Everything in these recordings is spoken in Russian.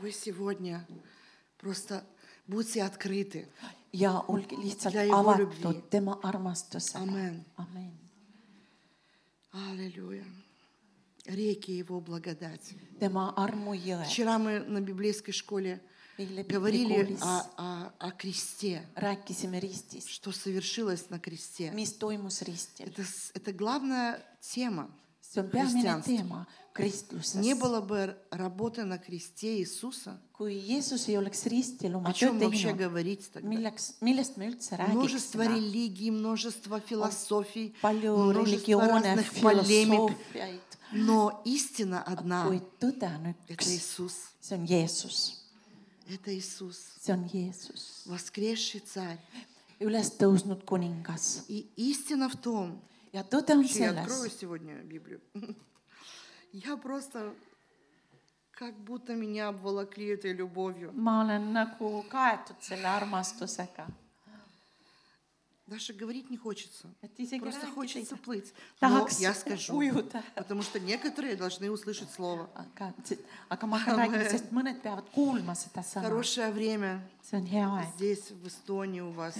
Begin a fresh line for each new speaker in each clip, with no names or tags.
Вы сегодня просто будьте открыты.
ja olge lihtsalt
Ja Jumalu
avatud
viie-
tema armastusele .
Amen.
amin .
Аллилуйя. Реки Его благодати.
tema armujõe .
Вчера мы на библейской школе
Или
говорили
библикулис.
о, о- о кресте,
rääkisime ristist ,
что совершилось на кресте.
mis toimus ristil .
Это, с- это главная тема.
see on peamine
Христианство.
teema kristluses .
Не было бы работы на кресте Иисуса,
kui Jeesus ei oleks ristil oma
о чем
tööd
вообще
teinud ,
говорить тогда?
milleks , millest me üldse
Множество
räägiksime ?
религий, множество философий,
palju
множество
religioone ,
разных полемик.
filosoofiaid ,
Но истина одна.
kuid tõde on
Это
üks ,
Иисус.
see on Jeesus ,
Это Иисус.
see on Jeesus ,
Воскресший Царь.
ülestõusnud kuningas
И истина в том,
ja tõde on
Вообще, я открою
selles ,
сегодня Библию. Я просто как будто меня обволокли этой любовью.
ma olen nagu kaetud selle armastusega ,
Даже говорить не хочется.
et isegi
Просто
rääkida ei
хочется плыть. Но я
tahaks
скажу,
ujuda ,
потому что некоторые должны услышать слово.
aga , aga ma hakkan rääkima , sest mõned peavad kuulma seda sõna ,
Хорошее время
see on hea aeg .
здесь, в Эстонии у вас.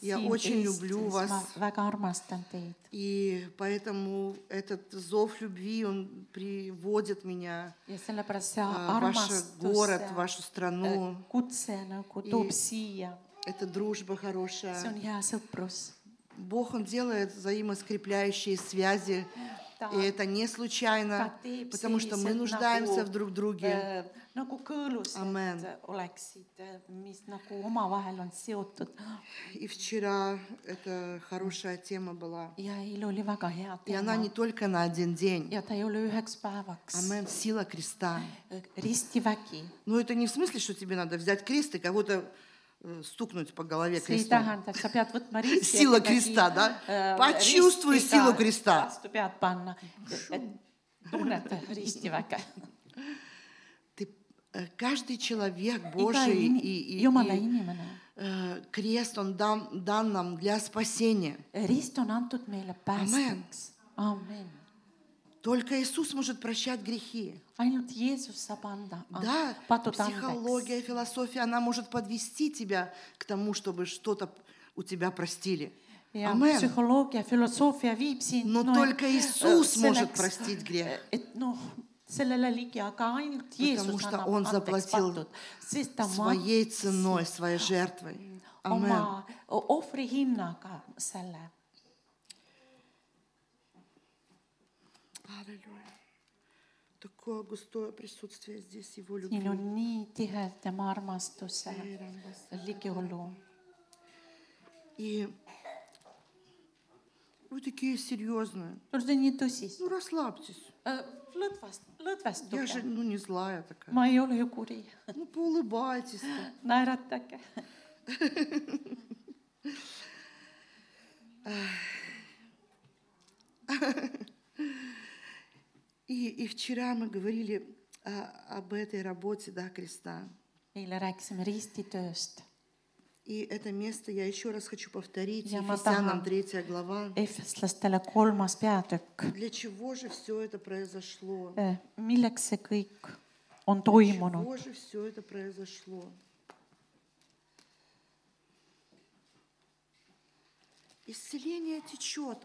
Я
Я
очень люблю вас.
väga armastan teid
И поэтому этот зов любви, он приводит меня
ja sellepärast see
э, в ваш
armastus ,
город, в вашу страну.
kutse nagu toob
И-
siia ,
Это дружба
see
хорошая.
on hea sõprus .
Бог, Он делает взаимоскрепляющие связи. И это не случайно,
Katib
потому что мы
sellised
нуждаемся
nagu,
в друг друге.
Äh, nagu kõõlused
Amen.
oleksid , mis nagu omavahel on seotud
И вчера это хорошая тема была.
ja eile oli väga hea
И она
teema
не только на один день.
ja ta ei ole üheks päevaks . äh,
Амен. Сила креста.
ristivägi ,
Но это не в смысле, что тебе надо взять крест и кого-то э, стукнуть по голове
see ei
крестом.
tähenda , et sa pead võtma risti .
Сила креста, да? Почувствуй силу креста.
vastu pead panna , et tunned risti väga .
Ты, э, каждый человек
iga
Божий
in-
и, и-
jumala
и,
inimene ,
э, крест, он дан, дан нам для спасения.
rist on antud meile päästeks . amin .
Только Иисус может прощать грехи.
ainult Jeesus saab anda
Да,
patud andeks .
психология, философия, она может подвести тебя к тому, чтобы что-то у тебя простили.
ja
Amen.
psühholoogia , filosoofia viib sind .
Но только
э,
Иисус может простить грех.
et noh , sellele ligi , aga ainult Jeesus
что
annab
on
andeks
zaplatil
patud , sest ta maksis
Своей ценой, своей жертвой. Амен.
oma o- ohvrihinnaga selle .
Аллилуйя. Такое густое присутствие здесь Его
siin
любви.
on nii tihe tema armastuse ligiolu
И вы такие серьезные.
no see on nii tõsis
Ну расслабьтесь.
lõdvast ,
Я же
lõdvestuge ,
ну, не злая такая.
ma ei ole ju kuri ,
Ну поулыбайтесь.
naeratage .
И, и вчера мы говорили а, об этой работе, да, креста.
eile rääkisime ristitööst ,
И это место я еще раз хочу повторить.
Я
Ефесянам
мотагам.
3 глава.
efeslastele kolmas peatükk .
Для чего же все это произошло?
Э, Äh, milleks see kõik on
Для
toimunud
чего же все это произошло? Исцеление течет.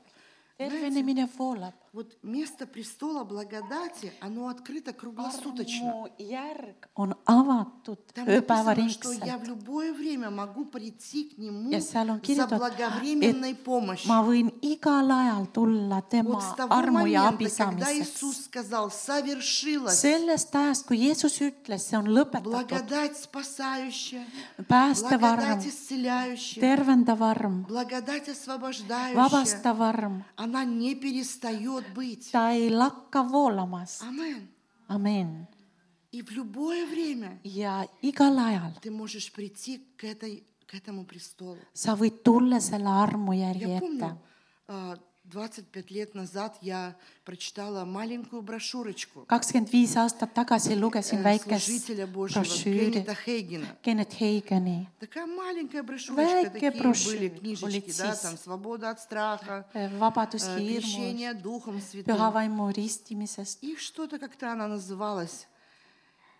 Знаете,
tervenemine voolab .
вот место престола благодати, оно открыто круглосуточно.
armu järg on avatud
Там написано, что
ööpäevaringselt
я в любое время могу прийти к нему
Ja seal on
за
kirjutatud,
благовременной помощью.
ma võin igal ajal tulla tema
Вот с того
armu ja
момента,
abi
когда
saamiseks .
Иисус сказал «совершилось»,
sellest ajast , kui Jeesus ütles , see on lõpetatud ,
благодать спасающая,
päästev arm
благодать , исцеляющая,
tervendav arm ,
благодать освобождающая,
vabastav arm ,
она не перестает быть.
ta ei lakka voolamas ,
Амен.
amin .
И в любое время
ja igal ajal
ты можешь прийти к, этой, к этому престолу.
sa võid tulla selle armu järgi
Я
ette .
помню, а, 25 лет назад я прочитала маленькую брошюрочку
kakskümmend viis aastat tagasi lugesin
э,
väikest
служителя Божьего
brošüüri
Кеннета Хейгена.
Kenneth Heigeni
Такая маленькая брошюрочка,
Väike
такие были
brošüür oli
книжечки,
siis.
да, там «Свобода от страха»,
eh,
э,
Vabadus ja hirmu ,
«Крещение Духом Святым».
pühavaimu ristimisest .
И что-то как-то она называлась.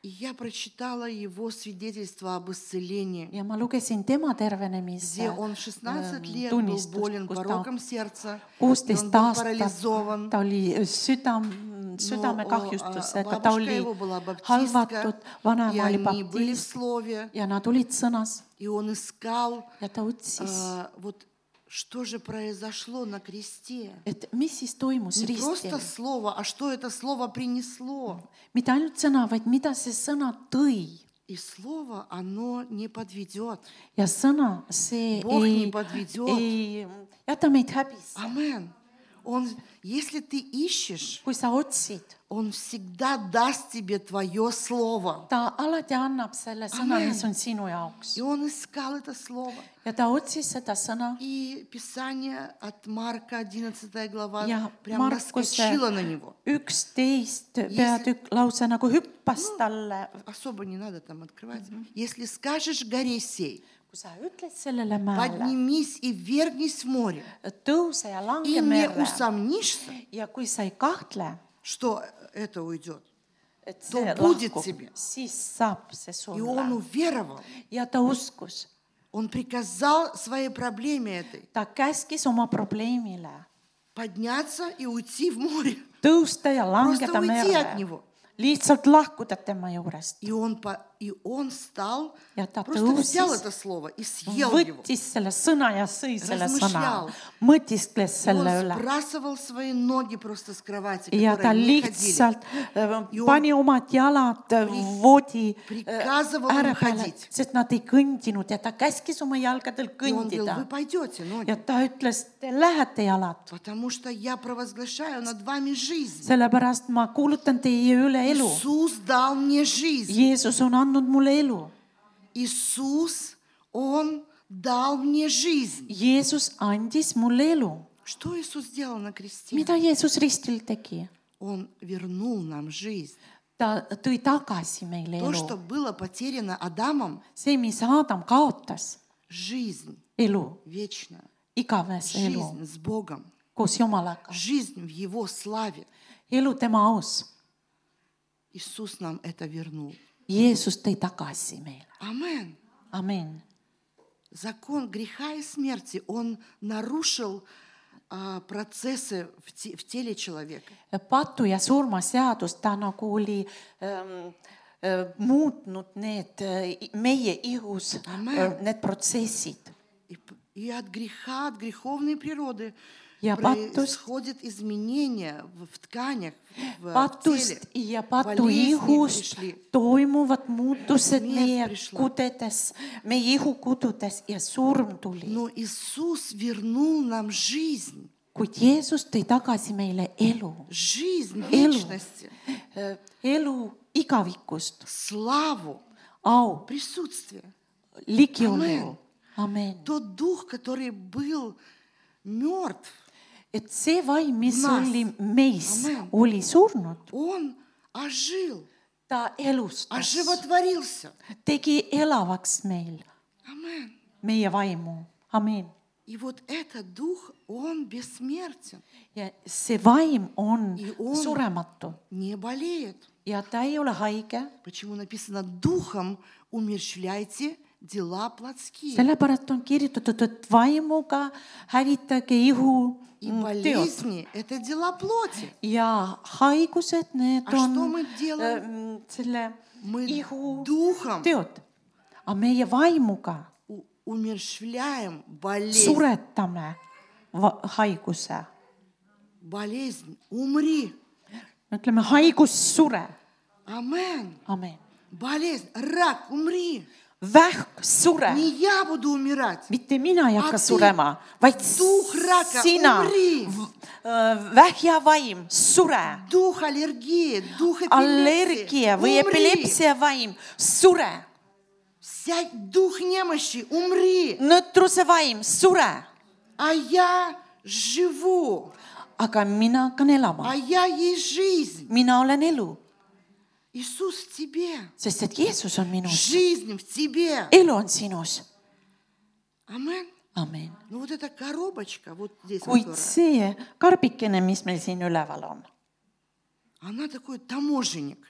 И я прочитала его свидетельство об исцелении,
ja ma lugesin tema tervenemist
где он в 16 лет был
tunnistust,
болен
kus ta
пороком сердца, и он
kuusteist
был
aastat
парализован.
ta oli südam , südamekahjustusega , ta oli
а, его была баптистка,
halvatud ,
и
vanaema oli
они были в
baptist
слове,
ja nad olid sõnas
и он искал,
ja ta otsis ,
а, вот что же произошло на кресте.
et mis siis toimus
Не
ristil
просто слово, а что это слово принесло.
mitte ainult sõna , vaid mida see sõna tõi
И слово, оно не подведет.
ja sõna , see
Бог не
ei ,
подведет.
ei jäta meid häbisse .
Амен. Он, если ты ищешь,
kui sa otsid ,
Он всегда даст тебе твое слово.
ta alati annab selle sõna ,
Amen.
mis on sinu jaoks
И он искал это слово.
ja ta otsis seda sõna
И Писание от Марка 11 глава
ja
прям
Markuse
наскочило на него.
üksteist peatükk lausa nagu hüppas talle .
Особо не надо там открывать. Если скажешь горе сей,
kui sa ütled sellele mäele ,
поднимись и вергнись в море,
tõuse ja
и
lange
не
merre
усомнишься,
ja kui sa ei kahtle ,
что это уйдет.
et see
будет
lahkub
тебе. ,
siis saab see
И он
sulle
уверовал.
ja ta uskus
Он приказал своей проблеме этой
ta käskis oma probleemile
подняться и уйти в море.
tõusta ja
Просто
langeda
уйти
merre
от , него.
lihtsalt lahkuda tema juurest .
И он, по, и он стал,
Я та
просто взял
трусис.
это слово и съел его.
võttis selle sõna ja sõi selle
Размышлял. ,
sõna mõtiskles
И он
selle üle
сбрасывал свои ноги просто с кровати,
ja ta
которые не ходили.
lihtsalt äh,
Ja
pani omad jalad äh, voodi
приказывал
äh,
им
ääre peale
ходить. ,
sest nad ei kõndinud ja ta käskis oma jalgadel
И он говорил,
kõndida
вы пойдете, ноги,
ja ta ütles , te lähete jalad ,
потому что я провозглашаю над вами жизнь.
sellepärast ma kuulutan teie üle elu .
Иисус дал мне жизнь.
Jeesus on andnud mulle elu
Иисус, Он дал мне жизнь.
Jeesus andis mulle elu .
Что Иисус сделал на кресте?
mida Jeesus ristil tegi ?
Он вернул нам жизнь.
ta tõi tagasi meile
То, что
elu .
было потеряно Адамом,
see , mis Adam kaotas ,
жизнь
elu ,
вечная,
igavese elu
жизнь с Богом,
koos Jumalaga ,
жизнь в Его славе.
elu tema aus .
Иисус нам это вернул.
Jeesus tõi tagasi meile ,
Амен.
amin .
Закон греха и смерти, он нарушил а, процессы в, те- в теле человека.
patu ja surma seadus , ta nagu oli ähm, äh, muutnud need äh, i- meie ihus ,
Amen.
need protsessid
И, п- и от греха, от греховной природы
Я патость.
происходят изменения в, в тканях, в, в теле.
patust ja patu
Болезни
ihust
пришли.
toimuvad muutused
Смерть
meie
пришла.
kudedes , meie ihukududes ja surm tuli .
Но Иисус вернул нам жизнь,
kuid Jeesus tõi tagasi meile elu ,
жизнь
Элу.
вечности,
Äh, elu igavikust ,
славу,
au ,
присутствие.
ligiolu , amen .
Тот дух, который был мертв,
et see vaim , mis
Nas.
oli meis
Amen. ,
oli surnud ,
он ожил,
ta elustas ,
оживотворился.
tegi elavaks meil ,
Амен.
meie vaimu , amen .
И вот этот дух, он бессмертен,
ja see vaim on
Ja on-
surematu
не болеет.
ja ta ei ole haige ,
Почему написано «духом умерщвляйте дела плотские».
sellepärast on kirjutatud , et vaimuga hävitage ihu
И
mm, teod
болезни – это дела плоти.
ja haigused , need
А что
on
мы делаем?
ähm, selle
Мы
ihu
духом
teod , aga meie vaimuga
у- умерщвляем болезнь.
suretame va- haiguse ,
Болезнь, умри.
ütleme haigus sure ,
Амен.
amen ,
Болезнь, рак, умри.
vähk sure ,
Не я буду умирать.
mitte mina ei hakka
Abi.
surema , vaid
Duh raka,
sina
umri. ,
vähja vaim , sure ,
Дух аллергии, дух эпилепсии.
allergia või
Умри.
epilepsia vaim , sure ,
Сядь, дух немощи, умри.
nõtruse vaim , sure ,
А я живу.
aga mina hakkan elama
А , я есть жизнь.
mina olen elu ,
Иисус в тебе.
sest et Jeesus on minus ,
Жизнь в тебе.
elu on sinus ,
Амен.
amen .
Ну вот эта коробочка вот здесь,
kuid
которая,
see karbikene , mis meil siin üleval on
она такой таможенник.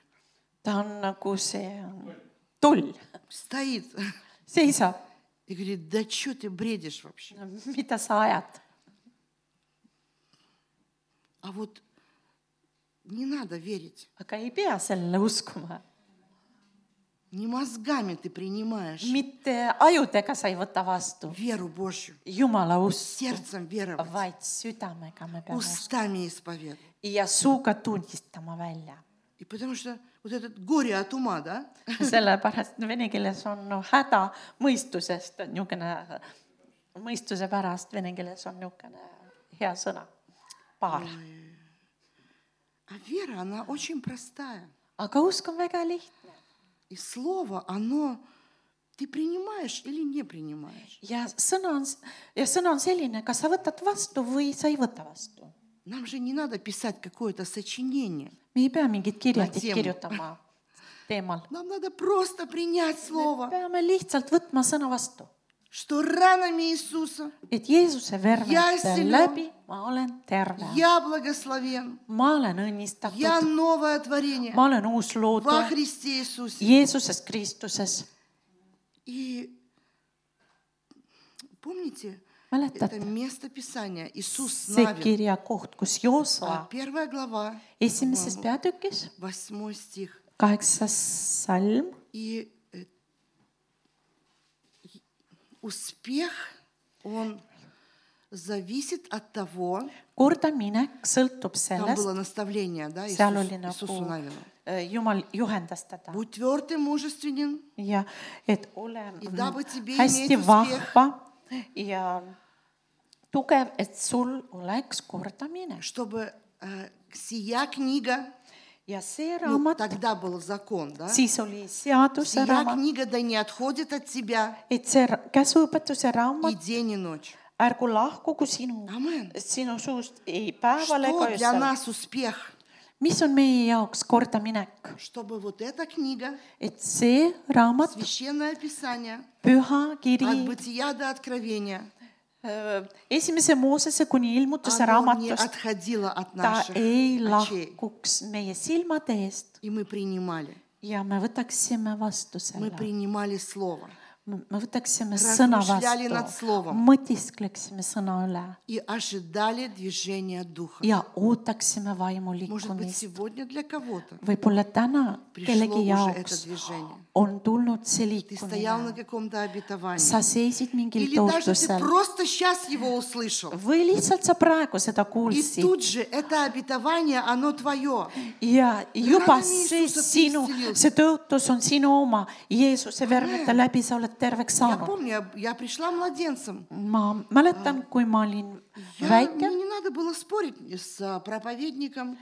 ta on nagu see toll ,
стоит
seisab ,
и говорит, да что ты бредишь вообще?
mida sa ajad ,
А вот не надо верить.
aga ei pea sellele uskuma .
Не мозгами ты принимаешь
mitte ajudega sa ei võta vastu
веру Божью.
jumala usku ,
Сердцем веровать,
vaid südamega me peame uskuma
устами исповедовать.
ja suuga tunnistama välja .
И потому что вот этот горе от ума, да?
sellepärast vene keeles on no, häda mõistusest , niisugune , mõistuse pärast vene keeles on niisugune hea sõna , paar .
А вера, она очень простая.
aga usk on väga lihtne
И слово, оно ты принимаешь или не принимаешь.
ja sõna on , ja sõna on selline , kas sa võtad vastu või sa ei võta vastu .
Нам же не надо писать какое-то сочинение.
me ei pea mingit kirjandit
Maxim.
kirjutama teemal ,
Нам надо просто принять слово,
peame lihtsalt võtma sõna vastu ,
что ранами Иисуса
et Jeesuse
Ja
vervete
sinu-
läbi ma olen terve ,
я благословен,
ma olen
я
õnnistatud ,
новое творение
ma olen uus
во
loodud
Христе Иисусе.
Jeesuses Kristuses
И помните, это
mäletate ,
место Писания Иисус
see
Навин,
kirja koht , kus Joosua
первая глава,
esimeses peatükis ,
восьмой стих.
kaheksas salm ,
И э, и успех, он зависит от того,
kordaminek
там
sõltub sellest
было , наставление, да,
seal
Иисус-
oli
Иисусу
nagu
Навину.
äh, Jumal juhendas teda
Будь тверд и мужественен,
ja et ole
И
mm,
дабы тебе
hästi
иметь успех.
vahva ja tugev , et sul oleks kordamine
чтобы э, сия книга,
ja see
ну,
raamat ,
тогда был закон, да,
siis oli seaduse
сия
raamat ,
книга да не отходит от тебя
et see ra- käsuõpetuse
и
raamat ,
день, и ночь.
ärgu lahkugu sinu ,
Amen.
sinu suust ei päeval ega
Что для
öösel
нас успех?
mis on meie jaoks kordaminek ,
Чтобы вот эта книга,
et see raamat ,
священное писание,
püha
от
kiri ,
бытия до откровения,
esimese Moosese kuni ilmutuse
оно не
raamatust ,
отходило от
ta
наших
ei
очей.
lahkuks meie silmade eest
И мы принимали.
ja me võtaksime vastu
Мы
selle ,
принимали слово.
me võtaksime sõna
Размышляли над
vastu
словом. ,
mõtiskleksime sõna üle
И ожидали движения Духа.
ja ootaksime vaimu
Может быть,
liikumist .
сегодня для кого-то
võib-olla täna
пришло
kellegi
уже это
jaoks
движение.
on tulnud see
Ты стоял на
liikumine ,
каком-то обетовании.
sa seisid mingil
Или даже ты
tõotusel
просто сейчас его услышал.
või lihtsalt sa praegu seda
И
kuulsid
тут же это обетование, оно твое.
ja juba
Rana
see
Jeesus on
sinu ,
püstilius.
see tõotus on sinu oma , Jeesuse vermete läbi sa oled terveks
Я
saanud .
помню, я- я пришла младенцем.
ma mäletan , kui ma olin
Я-
väike
мне , не надо было спорить с а, проповедником,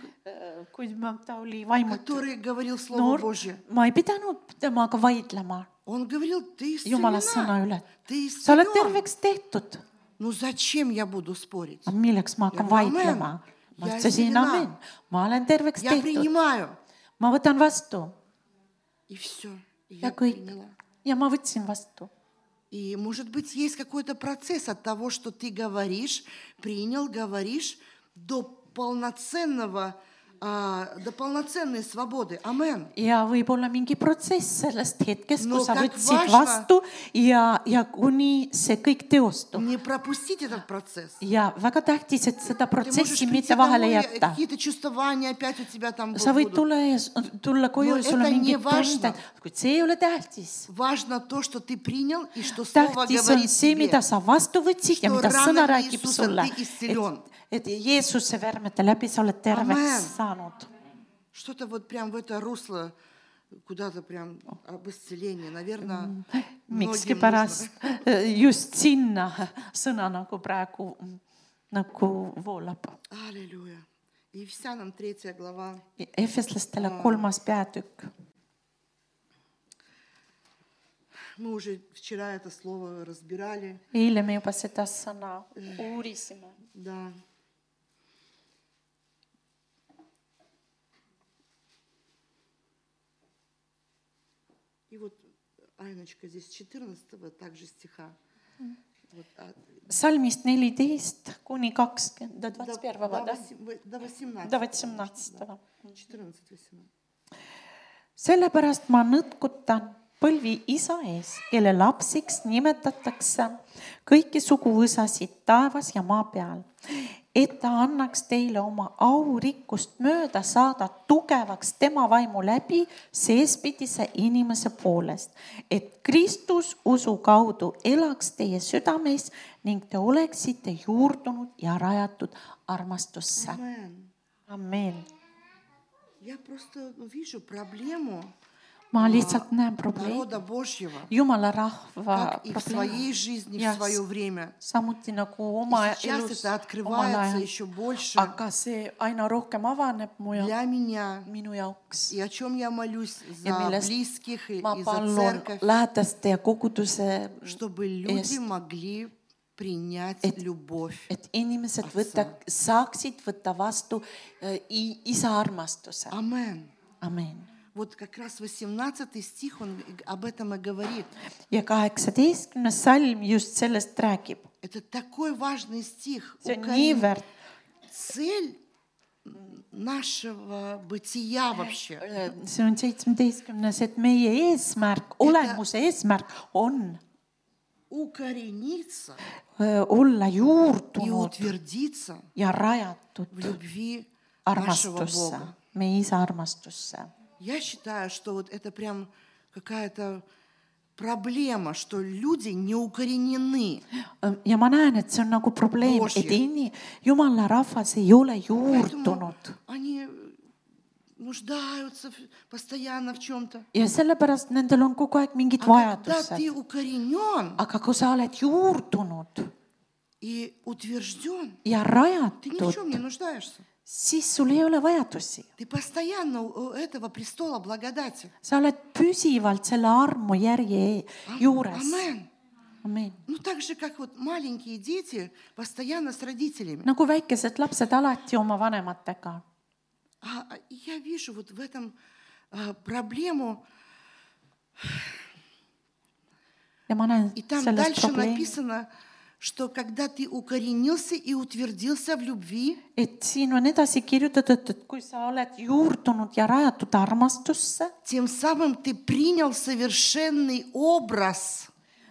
kui ma , ta oli vaimult
который говорил Слово
noor
Божье. ,
ma ei pidanud temaga vaidlema
Он говорил, ты
jumala sõna
исцелена,
üle .
ты
sa oled
исцелен.
terveks tehtud ,
Ну зачем я буду спорить?
milleks ma hakkan
Ja amen.
vaidlema ? ma
Ja
ütlesin
esitena.
amen , ma olen terveks
Я
tehtud ,
принимаю.
ma võtan vastu
И все.
ja
Я
kõik
приняла.
ja ma võtsin vastu
И, может быть, есть какой-то процесс от того, что ты говоришь, принял, говоришь, до полноценного, а, до полноценной свободы. Амен.
ja võib-olla mingi protsess sellest hetkest ,
No
kui sa
tak
võtsid
važna.
vastu ja , ja kuni see kõik teostub
Не пропустить этот процесс.
ja väga tähtis , et seda
Ты можешь
protsessi
прийти
mitte
домой,
vahele
и
jätta .
какие-то чувствования опять у тебя там
sa võid
будут.
tulla ja s- tulla koju
No
ja sul on
это не
mingid
важно.
tunded , kuid see ei ole tähtis .
Важно то, что ты принял и что слово
tähtis on
говорит
see , mida
тебе.
sa vastu võtsid ja
Что
mida sõna
ranami
räägib
Jeesus on
sulle
kõigist . siljon.
et Jeesuse vermete läbi sa oled terveks
Amen.
saanud .
Что-то вот прям в это русло куда-то прям об исцелении, наверное,
miskipärast just sinna sõna nagu praegu nagu voolab .
Аллилуйя. Ефесянам 3 глава.
Efeslastele kolmas peatükk .
Мы уже вчера это слово разбирали.
eile me juba seda sõna uurisime .
Да. И вот, Айночка, здесь 14 также стиха. Вот, а,
salmist neliteist kuni kakskümmend ,
до,
tuhat
до
pervada ,
восем- до 18.
tuhat seitsemteist .
Да, 14, 18.
sellepärast ma nõtkutan põlvi isa ees, kelle lapsiks nimetatakse kõiki suguvõsasid taevas ja maa peal, et ta annaks teile oma aurikkust mööda saada tugevaks tema vaimu läbi seespidise inimese poolest, et Kristus usu kaudu elaks teie südames ning te oleksite juurdunud ja rajatud armastusse.
Мэн,
amen.
Я просто ну, вижу проблему
ma lihtsalt näen probleemi
народа Божьего,
jumala rahva
как и в
probleemi
своей жизни,
Я
в свое время.
samuti nagu
И
oma
сейчас
elus
это
omal
открывается
ajal
еще больше
aga see aina rohkem avaneb mu ja
для меня.
minu jaoks
И о чем я молюсь
Я
за
молясь-
близких и,
ma
и за
palun
церковь,
lähedaste ja koguduse
чтобы люди
Эст.
могли принять любовь.
et inimesed võtta saaksid võtta vastu äh, i- isa armastuse
Амен.
amen
Вот как раз 18 стих, он и г- об этом и говорит.
ja kaheksateistkümnes salm just sellest räägib
Это такой важный стих.
see on
Украина-
niivõrd
Цель м, нашего бытия вообще.
äh, see on seitsmeteistkümnes et meie eesmärk olemuse eesmärk on
Укорениться
äh, olla
и
juurdunud
утвердиться
ja
в
rajatud
любви нашего
armastusse
Бога.
meie isa armastusse Ähm,
Я считаю, что вот это прям какая-то проблема, что люди не укоренены.
ja ma näen , et see on nagu probleem ,
Božje.
et inni- , jumala rahvas ei ole
Поэтому
juurdunud
они э, нуждаются в- постоянно в чем-то.
ja sellepärast nendel on kogu aeg mingid
А когда ты
vajadused .
укоренен
aga kui sa oled juurdunud
и утвержден,
ja
ты ни в чем
rajatud ,
не нуждаешься.
siis sul ei ole vajadusi .
Ты постоянно у у этого престола благодати.
sa oled püsivalt selle armu järje e- juures .
Амен.
amin .
Ну так же, как вот маленькие дети постоянно с родителями.
nagu väikesed lapsed alati oma vanematega .
А а, и я вижу вот в этом а, проблему.
ja ma näen
И там
selles
дальше
probleemi ,
написано, что когда ты укоренился и утвердился в любви,
et siin on edasi kirjutatud , et kui sa oled juurdunud ja rajatud armastusse
тем самым ты принял совершенный образ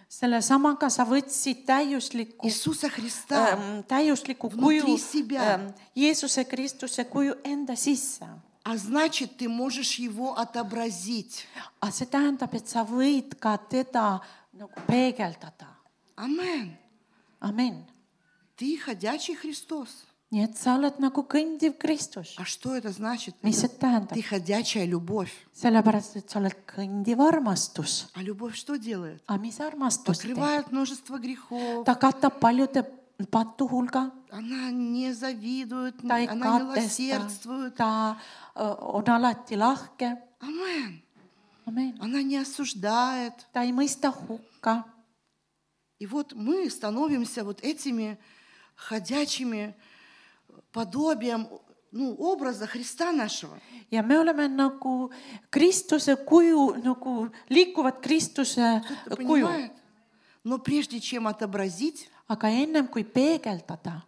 selle samaga sa võtsid täiusliku ,
Иисуса Христа.
ähm, täiusliku
Внутри
kuju
себя.
ähm, Jeesuse Kristuse kuju enda sisse .
А значит, ты можешь его отобразить.
aga see tähendab , et sa võid ka teda nagu peegeldada ,
Амен.
amin .
Ты ходячий Христос.
nii et sa oled nagu kõndiv Kristus ,
А что это значит?
mis see
Ты
tähendab ,
ходячая любовь.
sellepärast et sa oled kõndiv armastus ,
А любовь что делает?
aga mis armastus teeb ,
Покрывает множество грехов.
ta katab paljude pattu hulga ,
Она не завидует,
ta ei
она
katesta ,
милосердствует.
ta öö, on alati lahke ,
Амен.
amin .
Она не осуждает.
ta ei mõista hukka
И вот мы становимся вот этими ходячими подобием ну, образа Христа нашего.
ja me oleme nagu Kristuse kuju nagu liikuvad Kristuse
Кто-то
kuju ,
понимает? Но прежде чем отобразить,
aga ennem kui peegeldada ,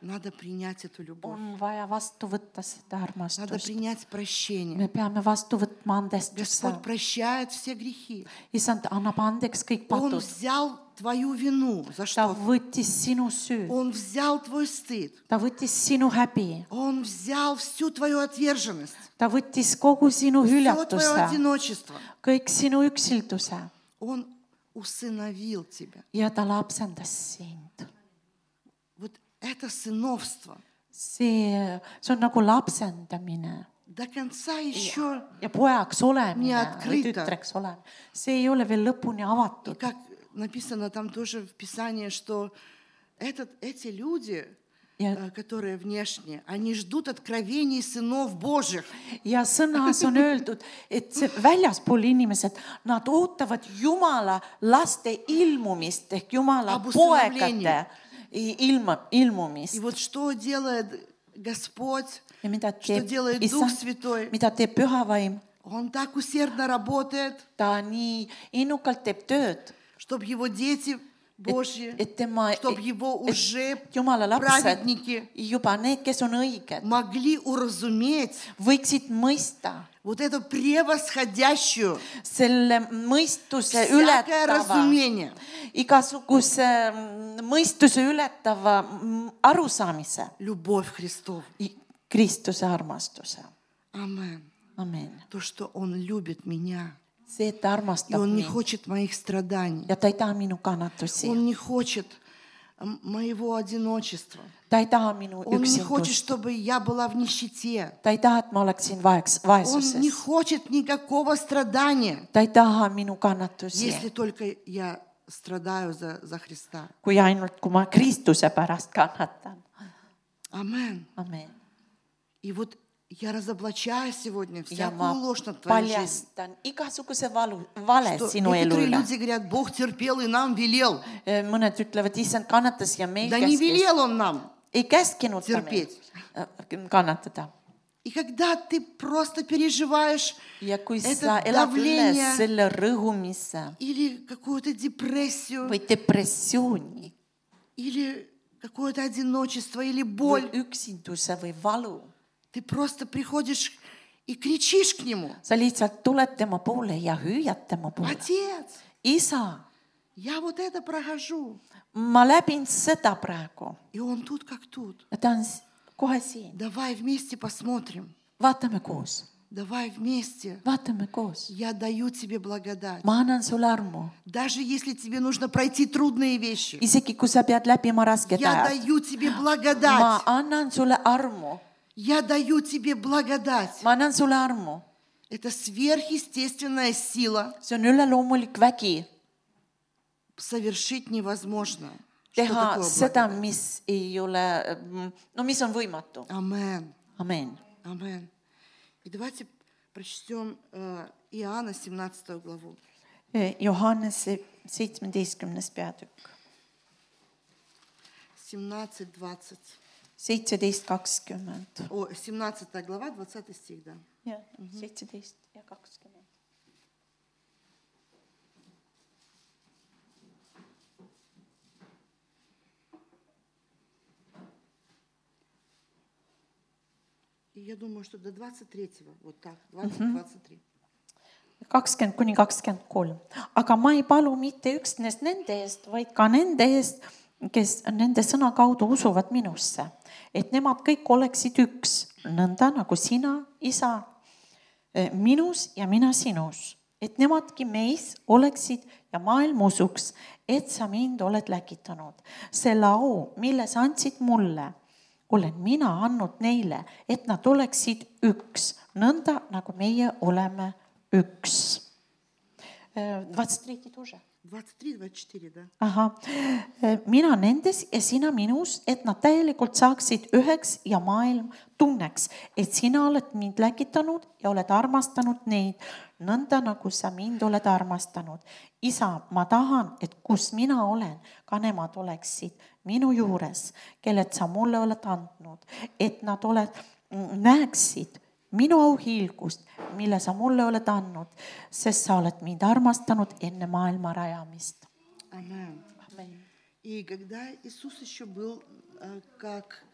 надо принять эту любовь.
on vaja vastu võtta seda
Надо
armastust .
принять прощение.
me peame vastu võtma andestuse
Господь . прощает все грехи.
issand annab andeks kõik
Он
patud ,
взял твою вину, за
ta
что?
võttis sinu süü ,
Он взял твой стыд.
ta võttis sinu häbi ,
Он взял всю твою отверженность,
ta võttis kogu sinu
все твое
hüljatuse ,
одиночество.
kõik sinu üksilduse
Он усыновил тебя.
ja ta lapsendas sind .
Вот это сыновство.
see , see on nagu lapsendamine
До конца еще,
ja pojaks
Nii
olemine
et
või
krita.
tütreks olemine , see ei ole veel lõpuni
и
avatud
как написано там тоже в Писании, что этот, эти люди,
ja ,
э, которые внешне, они ждут откровений сынов Божьих.
ja sõnas on öeldud , et see väljaspool inimesed , nad ootavad Jumala laste ilmumist ehk Jumala poegade
Abusõnavleni.
i- ilma ,
И
ilmumist
вот что делает Господь,
ja mida
что
teeb
делает Дух
issand ,
Святой.
mida teeb pühavaim ,
Он так усердно работает,
ta nii innukalt teeb tööd ,
чтобы его дети Божье,
et tema ,
чтобы его уже
Jumala lapsed ,
праведники
juba need , kes on õiged ,
могли уразуметь
võiksid mõista
вот эту превосходящую
selle mõistuse
всякое
ületava ,
разумение.
igasuguse mm, mõistuse ületava mm, arusaamise
Любовь Христову.
I- Kristuse armastuse .
Амен.
amen .
То, что Он любит меня.
see , et ta
И
armastab
Он не
mind
хочет моих страданий.
ja ta ei taha minu kannatusi ,
Он не хочет м, моего одиночества.
ta ei taha minu
Он не хочет,
üksindust ,
чтобы я была в нищете.
ta ei taha , et ma oleksin vaeks ,
Он не
vaesuses ,
хочет никакого страдания,
ta ei taha minu kannatusi
если только я страдаю за, за Христа.
kui ainult , kui ma Kristuse pärast kannatan .
Амен.
amen .
И вот я разоблачаю сегодня
ja
всякую
ma
ложь над твоей жизнью.
paljastan igasuguse valu , vale
Что
sinu elu
некоторые
üle .
люди говорят, Бог терпел и нам велел.
mõned ütlevad , issand kannatas ja meil
Да не
käskis ,
велел он нам.
ei käskinud ta meil
Terpid.
äh, kannatada .
И когда ты просто переживаешь
ja kui
Это
sa elad üle
давление.
selle rõhumise
или какую-то депрессию,
või depressiooni
или какое-то одиночество, или
või
боль,
üksinduse või valu ,
ты просто приходишь и кричишь к нему.
sa lihtsalt tuled tema poole ja hüüad tema poole .
Отец,
isa ,
я вот это прохожу.
ma läbin seda praegu
И он тут как тут.
ja ta on s- kohe siin ,
Давай вместе посмотрим.
vaatame koos ,
Давай вместе.
vaatame koos .
Я даю тебе благодать.
ma annan sulle armu ,
Даже если тебе нужно пройти трудные вещи,
isegi kui sa pead läbima rasked
я
ajad ,
даю тебе
ma
благодать.
annan sulle armu
Я даю тебе благодать.
ma annan sulle armu ,
Это сверхъестественная сила.
see on üleloomulik vägi
Совершить невозможно. Что
teha
такое
seda ,
благодать?
mis ei ole , no mis on võimatu .
Амен.
amen .
Амен. И давайте прочтем э, Иоанна 17 главу.
Johannese seitsmeteistkümnes peatükk ,
17-20.
seitseteist kakskümmend . Mhm.
О, 17 глава, 20 стих, да.
jah , seitseteist ja kakskümmend .
И я думаю, что до 23-го, вот так, 20-23.
kakskümmend kuni kakskümmend kolm , aga ma ei palu mitte üksnes nende eest , vaid ka nende eest , kes nende sõna kaudu usuvad minusse , et nemad kõik oleksid üks , nõnda nagu sina , isa , eh, minus ja mina sinus , et nemadki meis oleksid ja maailm usuks , et sa mind oled läkitanud . selle au , mille sa andsid mulle , olen mina andnud neile , et nad oleksid üks , nõnda nagu meie oleme üks . vaatasid riiki tuuse ?
23-24, да.
ahah , mina nendes ja sina minus , et nad täielikult saaksid üheks ja maailm tunneks , et sina oled mind läkitanud ja oled armastanud neid nõnda , nagu sa mind oled armastanud . isa , ma tahan , et kus mina olen , ka nemad oleksid minu juures , kellelt sa mulle oled andnud , et nad oled , näeksid minu auhiilgust , mille sa mulle oled andnud , sest sa oled mind armastanud enne maailma rajamist .
Амен.
Amen.
И когда Иисус еще был э, как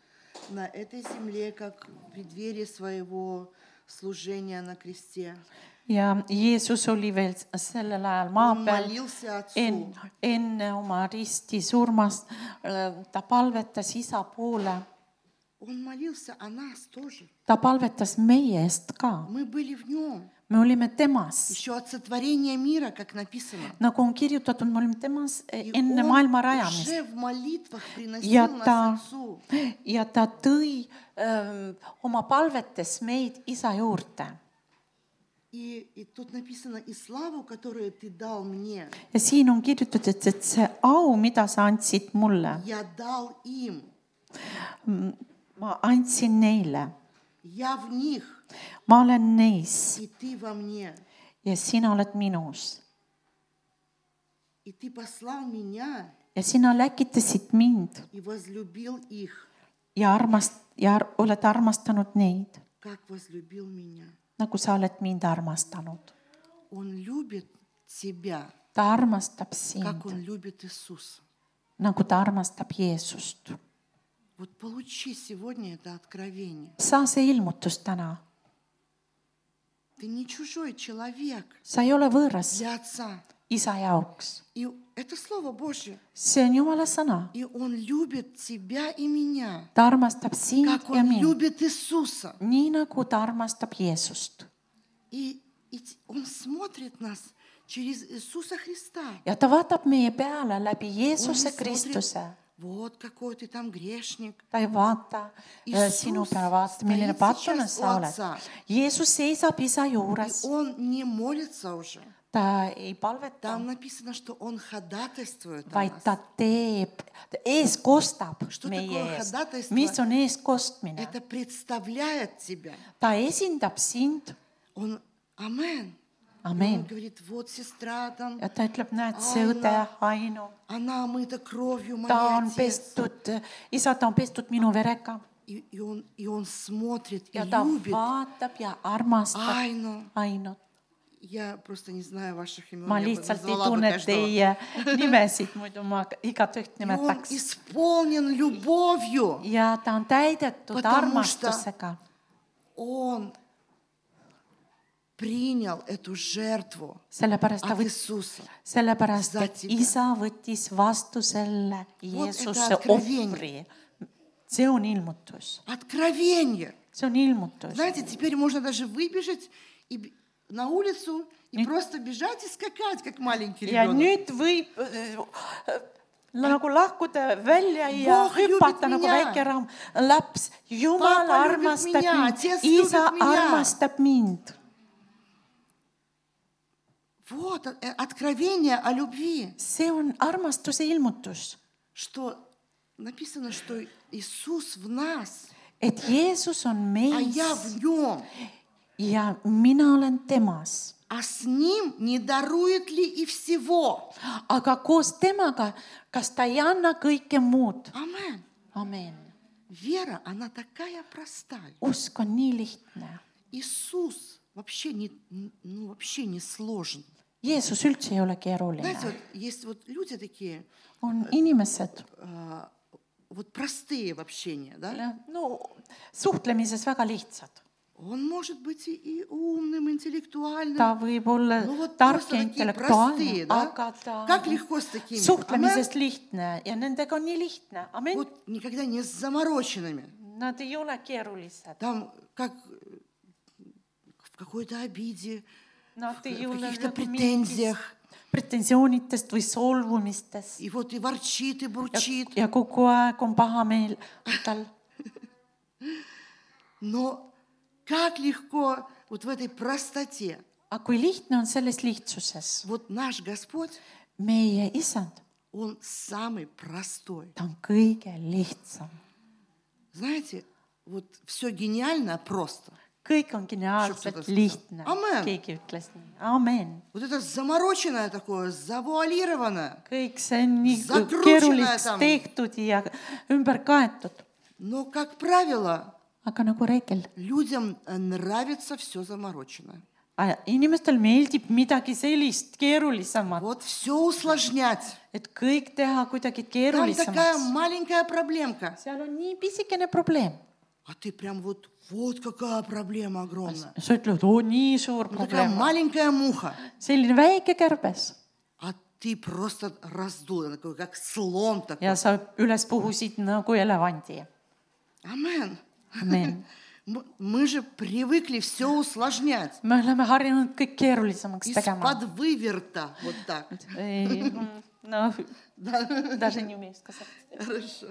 на этой земле, как в преддверии своего служения на кресте,
ja Jeesus oli veel s- sellel ajal maa
он
peal ,
молился Отцу,
enne , enne oma risti surmast , ta palvetas isa poole ,
он молился о нас тоже.
ta palvetas meie eest ka ,
Мы были в нем
me olime temas ,
еще от sotvorения mira, как написано.
nagu on kirjutatud , me olime temas e,
И
enne
он
maailma rajamist
уже в молитвах приносил
Я
нас
та-
Отцу.
ja ta tõi öö, oma palvetes meid isa juurde
И, и тут написано, и славу, которую ты дал мне,
ja siin on kirjutatud , et see au , mida sa andsid mulle ,
я дал им,
ma andsin neile ,
я в них,
ma olen neis
и ты во мне.
ja sina oled minus
И ты послал меня
ja sina läkitasid mind
и возлюбил их,
ja armast- ja ar oled armastanud neid ,
как возлюбил меня.
nagu sa oled mind armastanud .
Он любит тебя,
ta armastab
как
sind ,
он любит Иисуса.
nagu ta armastab Jeesust .
Вот получи сегодня это откровение.
saa see ilmutus täna ,
Ты не чужой человек
sa ei ole võõras
для Отца.
isa jaoks ,
И это Слово Божье.
see on Jumala sõna ,
И Он любит тебя и меня,
ta armastab sind
как
ja
Он
mind ,
любит Иисуса.
nii nagu ta armastab Jeesust
И, и т- Он смотрит нас через Иисуса Христа.
ja ta vaatab meie peale läbi
Он не
Jeesuse Kristuse
смотрит, вот какой ты там грешник.
ta ei vaata äh,
Isus
sinu peale , vaata ,
стоит
milline patunas
сейчас
sa
у
oled
otsa. .
Jeesus seisab isa
И
juures ,
Он не молится уже.
ta ei palveta
Там , написано, что Он ходатайствует о
vaid
нас.
ta teeb , eeskostab
Что
meie
такое
eest
ходатайство? .
mis on eeskostmine ?
Это представляет тебя.
ta esindab sind ,
Он Амен. Он
amen ,
говорит, вот сестра там,
ja ta ütleb , näed , see õde Ainu ,
она омыта кровью
ta on
моей отец.
pestud , isa , ta on pestud minu verega
И, и он, и он смотрит и
ja ta
любит.
vaatab ja armastab
Айну.
Ainut .
Я просто не знаю ваших имен.
ma
я бы
lihtsalt ei
назвала бы
tunne
каждого.
teie nimesid , muidu ma igatüht
И он
nimetaks .
исполнен любовью.
ja ta on täidetud
Потому
armastusega ,
Он принял эту жертву
sellepärast ta
от
võttis ,
Иисуса.
sellepärast
Za
et
тебя.
isa võttis vastu selle Jeesuse
откровение.
ohvri . see on ilmutus ,
Откровение.
see on ilmutus .
Знаете, теперь можно даже выбежать и б- на улицу и
Нет.
просто бежать и скакать, как маленький
ja
ребенок.
nüüd võib äh, äh, nagu lahkuda välja ja
Бог любит
hüpata nagu
меня.
väike raam , laps , Jumal
Papa любит
armastab
меня,
mind
отец , любит
isa
меня.
armastab mind
Вот э, откровение о любви,
see on armastuse ilmutus ,
что написано, что Иисус в нас,
et Jeesus on
а я
meis
в нем,
ja mina olen temas ,
а с ним не дарует ли и всего.
aga koos temaga , kas ta ei anna kõike muud ?
Амен.
amen .
Вера, она такая простая.
usk on nii lihtne ,
Иисус вообще не, ну, вообще не сложен.
Jeesus üldse ei ole
Знаете,
keeruline ,
вот есть вот люди такие,
on inimesed ,
а, вот простые в общении, да?
no suhtlemises väga lihtsad ,
Он может быть и, и умным, интеллектуальным.
ta võib olla
Ну вот
tark
просто
ja
такие
intellektuaalne
простые, , да?
aga ta
Как lегко с такими.
suhtlemisest lihtne ja nendega on nii lihtne ,
Амен.
amen .
Вот никогда не с замороченными.
Nad ei ole keerulised .
Там как э, в какой-то обиде,
Nad ei
в
ole
каких-то
nagu mingis
претензиях.
pretensioonidest või solvumistest
И вот и ворчит, и
ja,
бурчит.
ja kogu aeg on pahameel tal .
Но как легко вот в этой простоте.
aga kui lihtne on selles lihtsuses ,
Вот наш Господь,
meie isand ,
Он самый простой.
ta on kõige lihtsam ,
Знаете, вот все гениально а просто.
kõik on
Šup,
geniaalselt
šup,
lihtne
Amen. ,
keegi ütles nii , amen ,
Вот это замороченное такое, завуалированное.
kõik see on nii
Zakrutšena
keeruliseks
tam.
tehtud ja ümber kaetud ,
Но, как правило,
aga nagu reegel ,
людям э, нравится все замороченное.
inimestel meeldib midagi sellist keerulisemat ,
Вот все усложнять.
et kõik teha kuidagi
Там такая
keerulisemaks .
маленькая проблемка.
seal on nii pisikene probleem .
А ты прям вот, вот какая проблема огромная.
sa ütled , oo nii suur
Ну, такая
probleem ,
маленькая муха.
selline väike kärbes
А ты просто раздул, её такой, как слон такой.
ja sa üles puhusid nagu elevandi .
Амен.
Amen.
М- Мы же привыкли все усложнять.
me oleme harjunud kõik keerulisemaks tegema .
Из-под выверта. Вот так.
noh , даже не умею сказать .
Хорошо.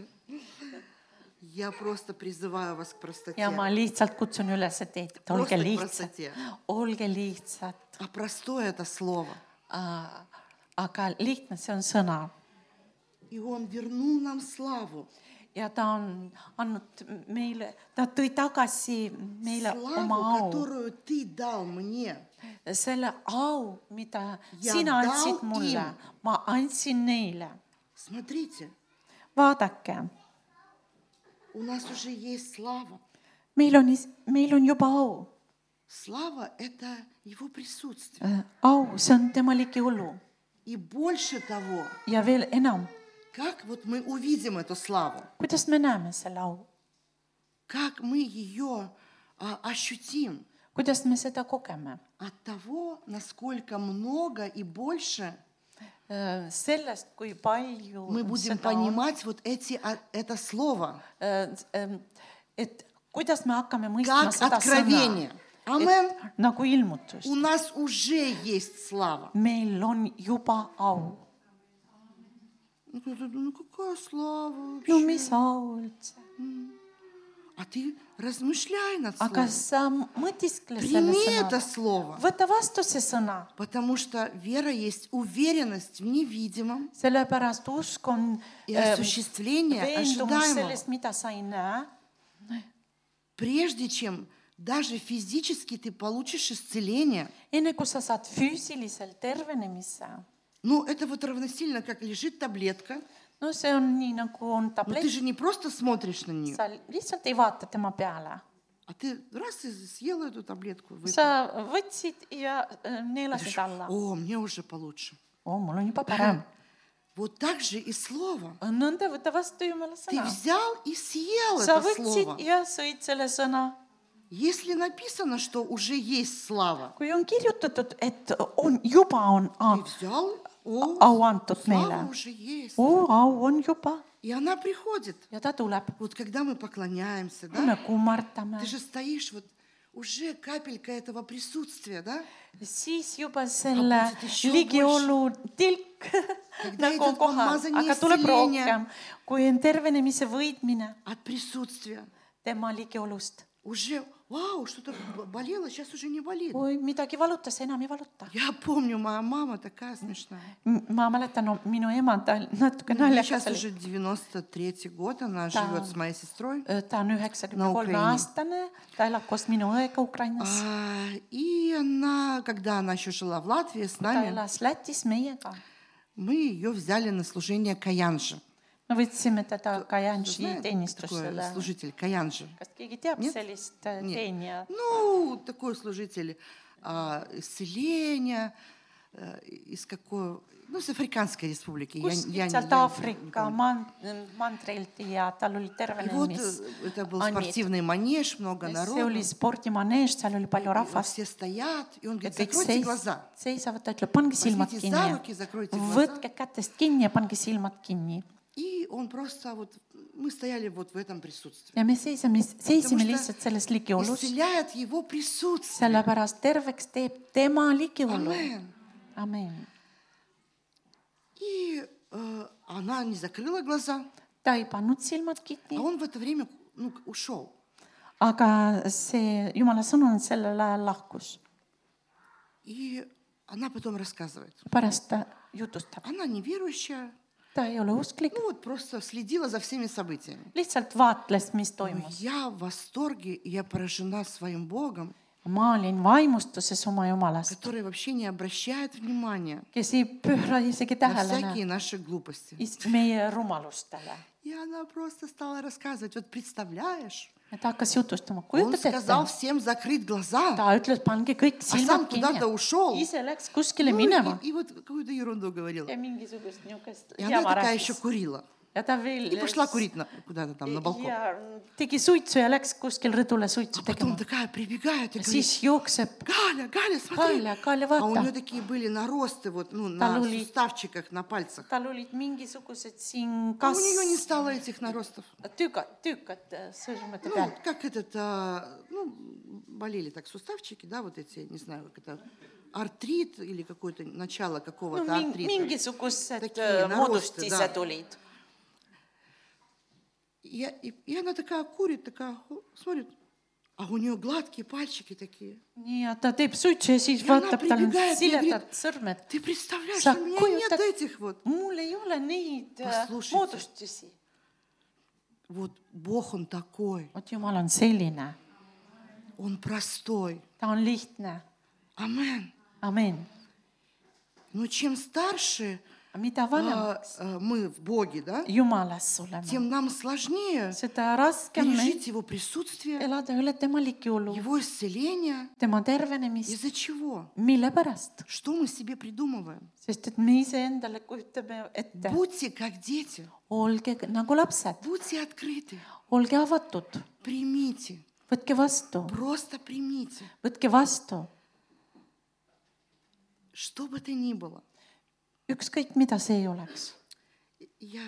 Я просто призываю вас к простоте.
ja ma lihtsalt kutsun üles teid , et olge
Просто
lihtsad ,
простоте.
olge lihtsad .
А простое это слово.
aga lihtne , see on sõna
И Он вернул нам славу.
ja ta on andnud meile , ta tõi tagasi meile oma
Славу,
au .
которую ты дал мне.
selle au , mida
Ja
sina andsid
dao
mulle
im. ,
ma andsin neile .
Смотрите,
vaadake ,
у нас уже есть слава.
meil on , meil on juba au .
Слава – это Его присутствие.
au , see on tema ligikulu
И больше того,
ja veel enam ,
Как вот мы увидим эту славу?
kuidas me näeme selle au ,
Как мы ее а, ощутим?
kuidas me seda kogeme ?
От того, насколько много и больше
Äh, sellest , kui palju
мы будем
seda on ,
понимать вот эти, а, это слово,
ähm, et kuidas me hakkame mõistma
как
seda sõna
откровение. , Амен.
nagu ilmutust
У . нас уже есть слава.
meil on juba au .
Ну, кто-то думает, ну какая слава вообще?
no mis au üldse ,
А ты размышляй над
aga
словом.
sa mõtiskle selle
Прими это
sõnaga ,
слово.
võta vastu see sõna ,
Потому что вера есть уверенность в невидимом
sellepärast usk on
и
äh,
осуществление
veendumus
ожидаемого.
sellest , mida sa ei näe ,
Прежде чем даже физически ты получишь исцеление,
enne kui sa saad füüsiliselt tervenemise .
ну это вот равносильно, как лежит таблетка,
no see on nii , nagu on
но ты
tablett ,
же не просто смотришь на нее,
sa lihtsalt ei vaata tema peale .
а ты раз и съела эту таблетку. выпила.
sa võtsid ja äh, neelasid alla .
О, мне уже получше.
oo , Oh, mul on juba parem .
Вот так же и слово.
nõnda võta vastu jumala
Ты
sõna .
взял и съел
sa
это слово.
võtsid ja sõid selle sõna .
Если написано, что уже есть слава,
kui on kirjutatud , et on , juba on
ты
au ,
взял, о,
au antud meile
слава . уже есть.
oo , au on juba
И она приходит.
ja ta tuleb .
Вот когда мы поклоняемся, да,
kui me kummardame
ты , же стоишь вот уже капелька этого присутствия, да?
siis juba selle
Aga siis juba
ligiolu tilk nagu on
идет
kohal ,
pomazanie
aga tuleb
iscelenia.
rohkem , kui on tervenemise võitmine
От присутствия.
tema ligiolust .
Уже, вау, что-то б- болело, сейчас уже не болит.
kui midagi valutas , enam ei valuta .
Я помню, моя мама такая смешная.
ma mäletan no, , minu ema , ta natuke
сейчас
naljakas oli ,
уже 93 год, она
Да.
живет с моей сестрой.
ta on üheksakümne kolme
Ukraina.
aastane , ta elab koos minu õega Ukrainas ,
А, и она, когда она еще жила в Латвии с
ta
нами,
elas Lätis meiega .
мы ее взяли на служение Каянжи.
me võtsime teda Kajanši
Знаете,
teenistusele
такой . служитель Каянжи?
kas keegi teab
Нет?
sellist äh,
Нет.
teenijat ?
Ну, такой служитель а, исцеления, э, из какой... Ну, с Африканской республики. Я- я
kuskilt
не- я
sealt
не
Aafrika
помню.
man- , mandrilt ja tal oli
И вот
tervenemis .
э, это был
Они-
спортивный манеж, много
see oli
народу.
spordimanees , seal oli palju
и вот
rahvast
все stoят, и он
ja
говорит,
kõik
закройте
seis,
глаза.
seisavad , ta ütleb , pange silmad
Возьмите за руки,
kinni .
закройте глаза.
võtke kätest kinni ja pange silmad kinni .
И он просто вот... Мы стояли вот в этом присутствии.
ja me seisame ,
Потому
seisime
что
lihtsalt selles ligiolus ,
Исцеляет его присутствие.
sellepärast terveks teeb tema ligiolu .
Амен.
amin .
И э, она не закрыла глаза,
ta ei pannud silmad
а
kinni ,
он в это время ну, ушел.
aga see jumala sõnum sellel ajal lahkus .
И она потом рассказывает.
pärast ta jutustab ,
Она неверующая,
ta ei ole usklik ,
ну вот просто следила за всеми событиями.
lihtsalt vaatles , mis
Но
toimus .
я в восторге, и я поражена своим Богом,
ma olin vaimustuses oma jumalast ,
который вообще не обращает внимания
kes ei pööra isegi
на
tähelepanu
всякие наши глупости.
meie rumalustele .
И она просто стала рассказывать, вот представляешь,
ja ta hakkas jutustama ,
он
kujutad ette ,
сказал всем закрыть глаза,
ta ütles , pange kõik
а сам
silmad
куда-то
kinni ,
ушел.
ise läks kuskile
Ну,
minema
и, и вот какую-то ерунду говорила.
ja mingisugust niisugust
И она
jama
такая еще
rääkis
курила.
ja ta veel
И пошла курить на- куда-то там
E
на балкон.
ja tegi suitsu ja läks kuskil rõdule suitsu
А потом
tegema .
такая прибегает и говорит,
siis jookseb ,
Галя, Галя, смотри.
Галя, Галя,
А у
вата.
нее такие были наросты вот, ну, на
Талули.
суставчиках, на пальцах.
tal olid mingisugused siin
А у
kas
нее не стало этих наростов.
tükad , tükad äh, sõrmede
Ну,
peal .
как этот, а, ну, болели так суставчики, да, вот эти, не знаю, как это, артрит или какое-то начало
no
какого-то
min-
артрита.
mingisugused
Tekki
äh,
narosted,
moodustised
da.
olid .
Я- и, и она такая курит, такая, хо- смотрит, а у нее гладкие пальчики такие.
nii , ja ta teeb suitsu ja siis
Ja
vaatab ,
nad
tal on
pribigajad
siledad
pribri-
sõrmed .
Ты представляешь,
Sa
у меня
kujutad-
нет этих вот.
mul ei ole neid äh,
Послушайте.
moodustusi .
Вот Бог, Он такой,
vot jumal on selline ,
Он простой.
ta on lihtne ,
Амен.
amin .
Но чем старше
mida
а,
vanemaks
а, мы в Боге, да,
Jumalas oleme ,
тем нам сложнее
seda raskem meil
пережить Его присутствие,
elada üle tema ligiolu ,
Его исцеление.
tema tervenemist .
Из-за чего?
mille pärast ?
Что мы себе придумываем?
sest et me iseendale kujutame ette ,
Будьте как дети,
olge nagu lapsed ,
будьте открыты,
olge avatud ,
примите,
võtke vastu ,
просто примите,
võtke vastu ,
что бы то ни было.
ükskõik mida see ei oleks .
Я...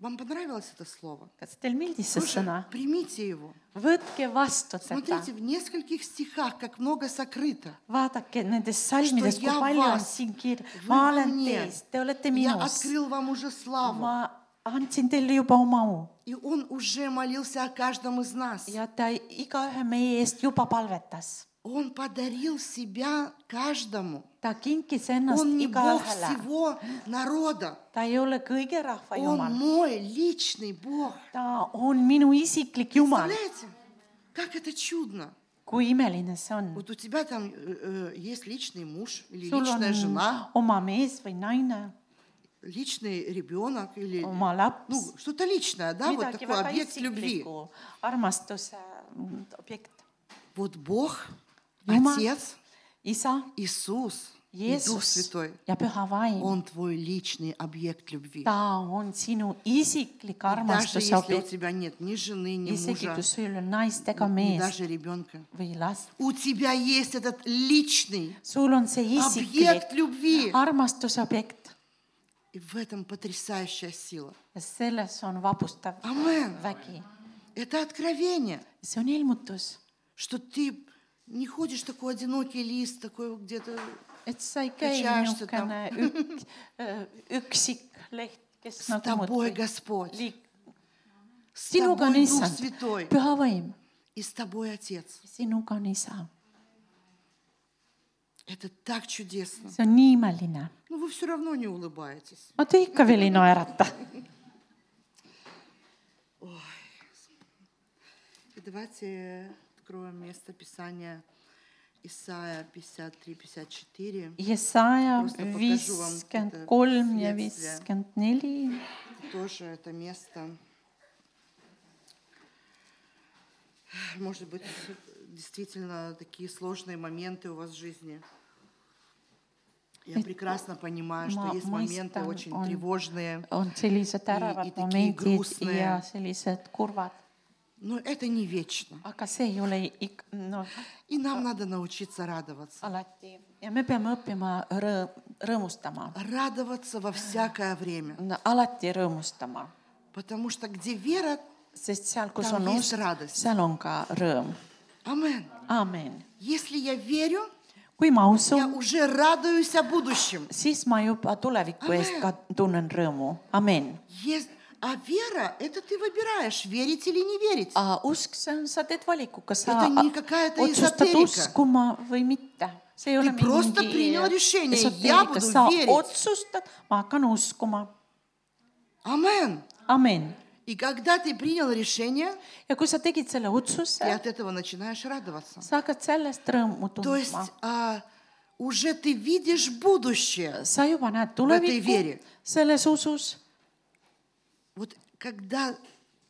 Вам понравилось это слово?
kas teil meeldis see
Тоже
sõna ?
примите его.
võtke vastu seda ,
Смотрите, в нескольких стихах как много сокрыто.
vaadake nendes salmides , kui
ja
palju on
vas-
siin kirja
või ,
ma olen
nii.
teis , te olete
Я
minus ,
открыл вам уже славу.
ma andsin teile juba oma au
И он уже молился о каждом из нас.
ja ta igaühe meie eest juba palvetas .
Он подарил себя каждому.
ta kinkis ennast
Он не Бог
igaühele ,
всего народа.
ta ei ole kõige rahva
Он
jumal ,
мой личный Бог.
ta on minu isiklik jumal ,
Представляете? Как это чудно.
kui imeline see on .
Вот у тебя там э, э, есть личный муж или
sul on
личная жена,
oma mees või naine ,
личный ребенок или
oma laps ,
ну, что-то личное, да, вот
midagi
такой
väga
объект любви.
isiklikku , armastuse mm, objekt
Вот Бог,
Юма.
Отец,
isa ,
Иисус и Дух
Jeesus
Святой,
ja Püha Vaim ,
Он твой личный объект любви.
ta on sinu isiklik
Даже
armastuse
если у
objekt ,
тебя нет ни жены, ни
isegi
мужа,
kui sul ei ole naist ega
ни
meest
даже ребенка.
või last ,
У тебя есть этот личный
sul on see isiklik
объект любви.
armastuse objekt
И в этом потрясающая сила.
ja selles on vabustav
Амен.
vägi ,
Это откровение,
see on ilmutus ,
что ты не ходишь такой одинокий лист, такой где-то.
et sa ei käi
Kutsujaarstid on-
niisugune ük- , üksik leht , kes
С
nagu
тобой
muudkui
Господь,
liik- ,
с
sinuga on
тобой Дух
issand ,
Святой
püha vaim ,
и с тобой Отец.
sinuga on isa ,
Это так чудесно.
see on nii imeline .
Ну, вы все равно не улыбаетесь.
no te ikka veel ei naerata .
И давайте откроем место Писания Исаия 53-54.
Jesaja
Просто покажу вам
viiskümmend
seda
kolm ja
следствие.
viiskümmend neli ,
Тоже это место. Может быть, действительно такие сложные моменты у вас в жизни. Я
Это-
прекрасно понимаю,
Ма-
что есть
мы
моменты
там,
очень
он-
тревожные.
on sellised
ja
ärevad
tegi
momendid
grusne.
ja sellised kurvad ,
Но это не вечно.
aga see ei ole ik- , noh ,
И
А.
нам надо научиться радоваться.
alati ja me peame õppima rõõm , rõõmustama
Радоваться во всякое время.
No, alati rõõmustama ,
Потому что где вера,
sest seal , kus
Там
on
есть
usk
радость. ,
seal on ka rõõm .
амен.
aamen .
Если я верю,
kui ma
я
usun ,
уже радуюсь о будущем.
siis ma juba tuleviku
Amen.
eest ka tunnen rõõmu , amen .
Есть... А вера – это ты выбираешь, верить или не верить.
usk , see on , sa teed valiku , kas sa
Это не какая-то
otsustad
эзотерика.
uskuma või mitte . see ei ole
просто принял решение, я
esoteerika.
буду
sa
верить.
otsustad , ma hakkan uskuma ,
Амен.
amen .
И когда ты принял решение,
ja kui sa tegid selle
ты
otsuse ,
от этого начинаешь радоваться.
sa hakkad sellest rõõmu
То есть
tundma .
а, уже ты видишь будущее.
sa juba
вере.
näed tulevikku selles usus
Вот когда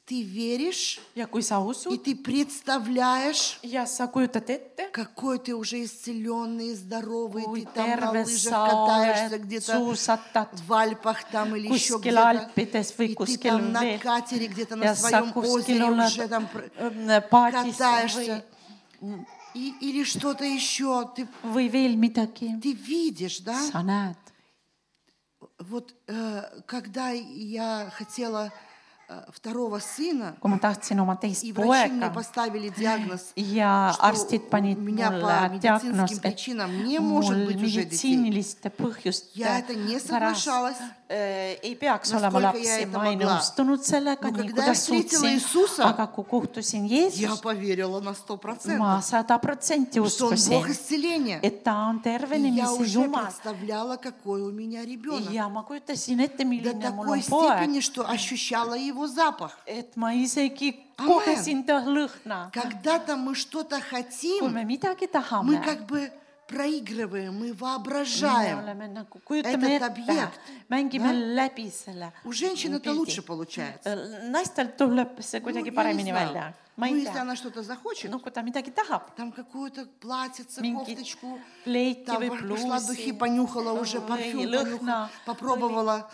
ты веришь,
ja kui sa
и
usud
ты представляешь,
ja sa kujutad ette ,
какой ты уже исцеленный, здоровый,
Ой,
ты там на
терве а
лыжах
са
катаешься
олед,
где-то
суусатат.
в Альпах там или еще
Kuskil
где-то,
Alpides või
и ты
kuskil
там на
veel.
катере где-то на
ja sa
своем
kuskil
озере
oled
уже там пр-
mm, paadis või
катаешься, и, или что-то еще, ты,
või veel midagi ,
ты видишь, да?
sa näed .
Вот э, когда я хотела э, второго сына,
kui ma tahtsin oma teist
и врачи мне
poega
поставили диагноз,
ja
что
arstid panid
у меня
mulle
по
diagnoos
медицинским ,
et
причинам не
mul
может быть уже детей.
meditsiiniliste põhjuste
Я это не
pärast
соглашалась.
äh, ei peaks olema
Насколько я
lapsi ,
это
ma ei
могла.
nõustunud sellega ,
Но
nii
когда я
kuidas
встретила
suutsin
Иисуса, ,
aga kui kohtusin
Я
Jeesust ,
поверила на сто
ma
процентов,
sada protsenti
что он Бог
uskusin ,
исцеления.
et ta on
И я
tervenemise
уже
Jumal
представляла, какой у меня ребенок.
ja ma kujutasin ette ,
До
milline mul
такой
on poeg
степени, , что ощущала его запах.
et ma isegi
Amen.
kogesin ta lõhna .
Когда-то мы что-то
kui
хотим,
me midagi
мы
tahame ,
как бы проигрываем, мы
me
воображаем.
oleme nagu
Этот
kujutame ette
objekt, ,
mängime läbi selle .
У женщин это лучше
Э,
получается.
naistel tuleb see
Ну, я не
kuidagi paremini
знаю.
välja . ma
Ну,
ei
если
tea ,
она что-то захочет,
no kui ta midagi tahab ,
там какую-то платьице,
Ну, Минки-
кофточку,
плети
там
вы,
пошла
блузы,
духи, понюхала уже
ну,
парфюм,
и
понюхала,
лыхна.
попробовала.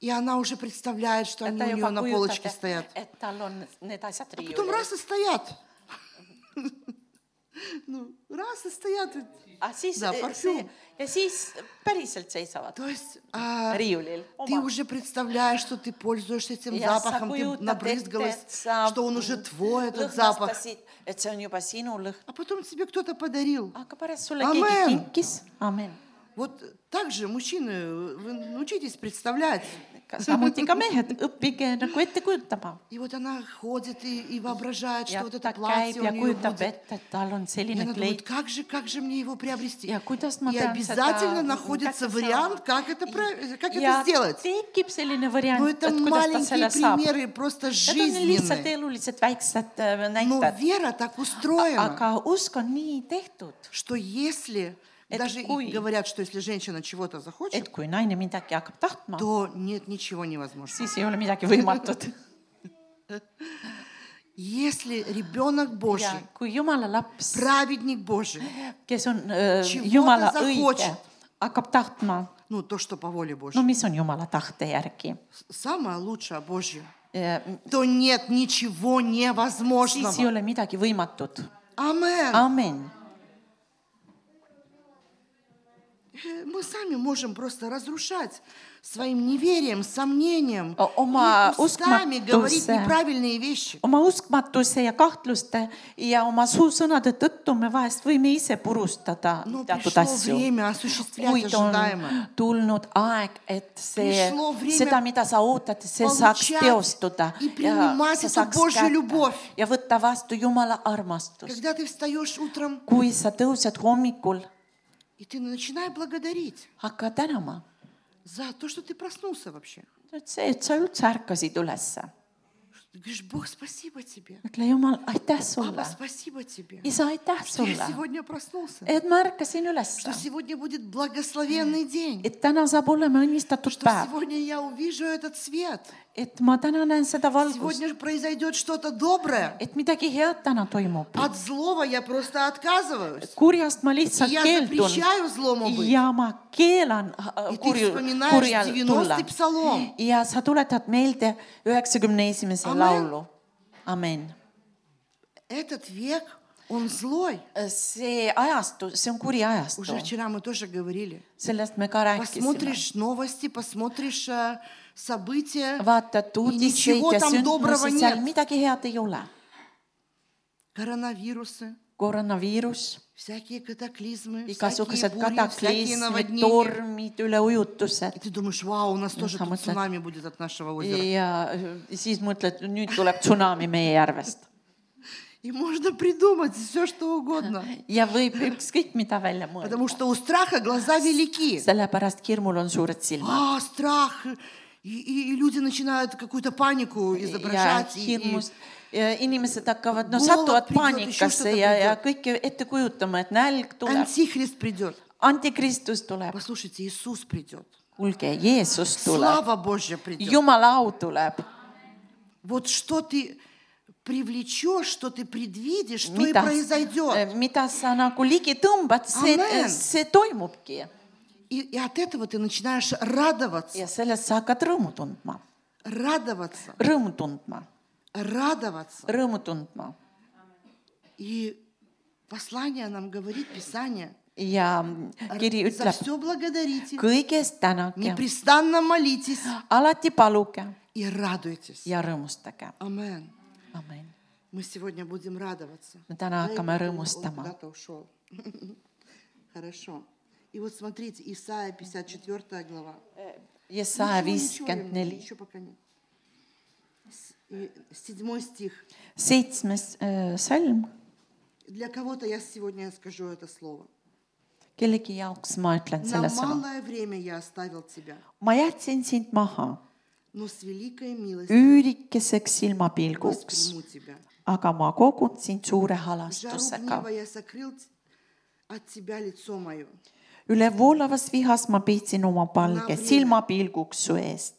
И она уже представляет, что они
ta
у нее
juba
на полочке
kujutab ,
стоят. А
et tal on need asjad
Потом
riiulil .
раз и стоят. Ну, раз и стоят.
aga siis
Да,
eh,
parfüüm.
see ja siis päriselt seisavad
То есть а,
riiulil .
ты уже представляешь, что ты пользуешься этим
Я
запахом, ты
сакую,
набрызгалась,
тет- тет, сап-
что он уже твой, этот запах.
lõhnastasid , et see on juba sinu lõhn ,
А потом тебе кто-то подарил.
aga pärast sulle
Amen.
keegi kinkis , amen .
Вот так же, мужчины, вы научитесь представлять.
samuti ka mehed , õppige nagu ette kujutama
И вот она ходит и, и воображает, что
ja
вот это
ta käib
платье у
ja
нее
kujutab
будет.
ette , et tal on
И
selline
она думает,
kleit
как же, как же мне его приобрести?
ja kuidas ma
И
pean
обязательно находится вариант, как это, про- как это
ja
сделать.
tekib
Но
selline variant ,
это
et kuidas ta
маленькие
selle saab .
примеры, просто
Need on lihtsalt
жизненные.
elulised väiksed äh,
Но
näited ,
вера так устроена,
aga usk on nii tehtud ,
что если,
Это
даже
куй.
и говорят, что если женщина чего-то
et
захочет,
kui naine midagi hakkab tahtma ,
то нет ничего невозможного.
siis ei ole midagi võimatut .
Если ребенок
ja
Божий,
kui Jumala laps ,
праведник Божий,
kes on äh,
Чего
Jumala
ta
õige
захочет. ,
hakkab tahtma ,
ну то, что по воле Божьей,
no mis on Jumala tahte järgi ,
с- самое лучшее Божье,
э,
то нет ничего невозможного.
siis ei ole midagi võimatut .
Амен.
amin .
Э, Мы sami можем просто разрушать своим неверием, сомнением,
О- ома
и устами говорить
ускматусе.
неправильные вещи.
oma uskmatuse ja kahtluste ja oma suusõnade tõttu me vahest võime ise purustada
Но
teatud
пришло
asju .
время осуществлять
kuid on
ожидаемое.
tulnud aeg , et see
Пришло , время
seda , mida sa ootad , see saaks
получать
teostuda
и
ja
принимать
sa
эту
saaks
Божью
kätte
любовь.
ja võtta vastu Jumala armastust .
Когда ты встаешь утром,
kui sa tõused hommikul ,
и ты начинаешь благодарить
hakka tänama ,
за то, что ты prоснулся вообще.
et see , et sa üldse ärkasid ülesse ,
Ты говоришь, Бог, спасибо тебе.
ütle Jumal , aitäh
Папа,
sulle ,
спасибо тебе.
isa , aitäh
что я
sulle ,
сегодня проснулся.
et ma ärkasin ülesse
Что , сегодня будет благословенный день.
et täna saab olema õnnistatud
Что
päev ,
сегодня я увижу этот свет.
et ma täna näen seda valgust ,
Сегодня произойдет что-то доброе.
et midagi head täna toimub .
От злого я просто отказываюсь.
kurjast ma
И
lihtsalt
я
keeldun
запрещаю злому быть.
ja ma keelan äh,
И ты
kurju ,
вспоминаешь
kurjal
90-й
tulla
psalm. .
ja sa tuletad meelde üheksakümne esimese
Amen.
laulu , amen .
Этот век, он злой.
Äh, see ajastu , see on kuri ajastu
Уже , вчера мы тоже говорили.
sellest me ka rääkisime .
Посмотришь новости, посмотришь э, события.
vaatad
И
uudiseid
ничего
ja
там доброго
sündmusi , seal
нет.
midagi head ei ole .
Коронавирусы,
koroonaviirus ,
всякие катаклизмы, всякие
igasugused
бури, всякие
kataklismid ,
наводнения.
tormid ,
И
üleujutused
ты думаешь, вау, у нас тоже
там
тут
это-
цунами будет от нашего озера.
ja siis mõtled , nüüd tuleb tsunami meie järvest
И можно придумать все, что угодно.
ja võib ükskõik mida välja mõelda .
Потому что у страха глаза велики.
sellepärast hirmul on suured silmad
А, страх. И, и- и люди начинают какую-то панику
ja
изображать. и- и-
hirmust ja inimesed hakkavad , no
Voolad
satuvad
prigõd-
paanikasse
išustavad
ja , ja
prigõd-
kõike ette kujutama , et nälg tuleb ,
Антихрист придет.
antikristus tuleb ,
Послушайте, Иисус придет.
kuulge , Jeesus tuleb ,
Слава Божья придет.
Jumala au tuleb ,
Вот что ты привлечешь, что ты предвидишь, что и
mida ,
произойдет.
mida sa nagu ligi tõmbad , see eh,
Amen. ,
see toimubki
И, и от этого ты начинаешь радоваться.
ja sellest sa hakkad rõõmu tundma ,
Радоваться.
rõõmu tundma ,
Радоваться.
rõõmu tundma
И послание нам говорит Писание.
ja kiri
За
ütleb ,
все благодарите.
kõigest tänage ,
Непрестанно молитесь
alati paluge
и радуйтесь.
ja rõõmustage ,
Амен.
amen .
Мы сегодня будем радоваться.
me
Дай
täna hakkame
Бог, он- он
rõõmustama .
куда-то ушел. Хорошо. И вот смотрите, Исаия 54 глава.
Jesaja
Ничего, ничего,
viiskümmend neli ,
Еще пока нет. С- и Седьмой стих.
seitsmes äh, salm ,
Для кого-то я сегодня скажу это слово.
kellegi jaoks ma ütlen
На
selle sõna .
малое время я оставил тебя,
ma jätsin sind maha
но с великой милостью
üürikeseks silmapilguks ,
восприму тебя.
aga ma kogun sind suure
В жару
halastusega
гнева я сокрыл т- от тебя лицо мое.
üle voolavas vihas ma peitsin oma palge
Nabriina.
silmapilguks su eest ,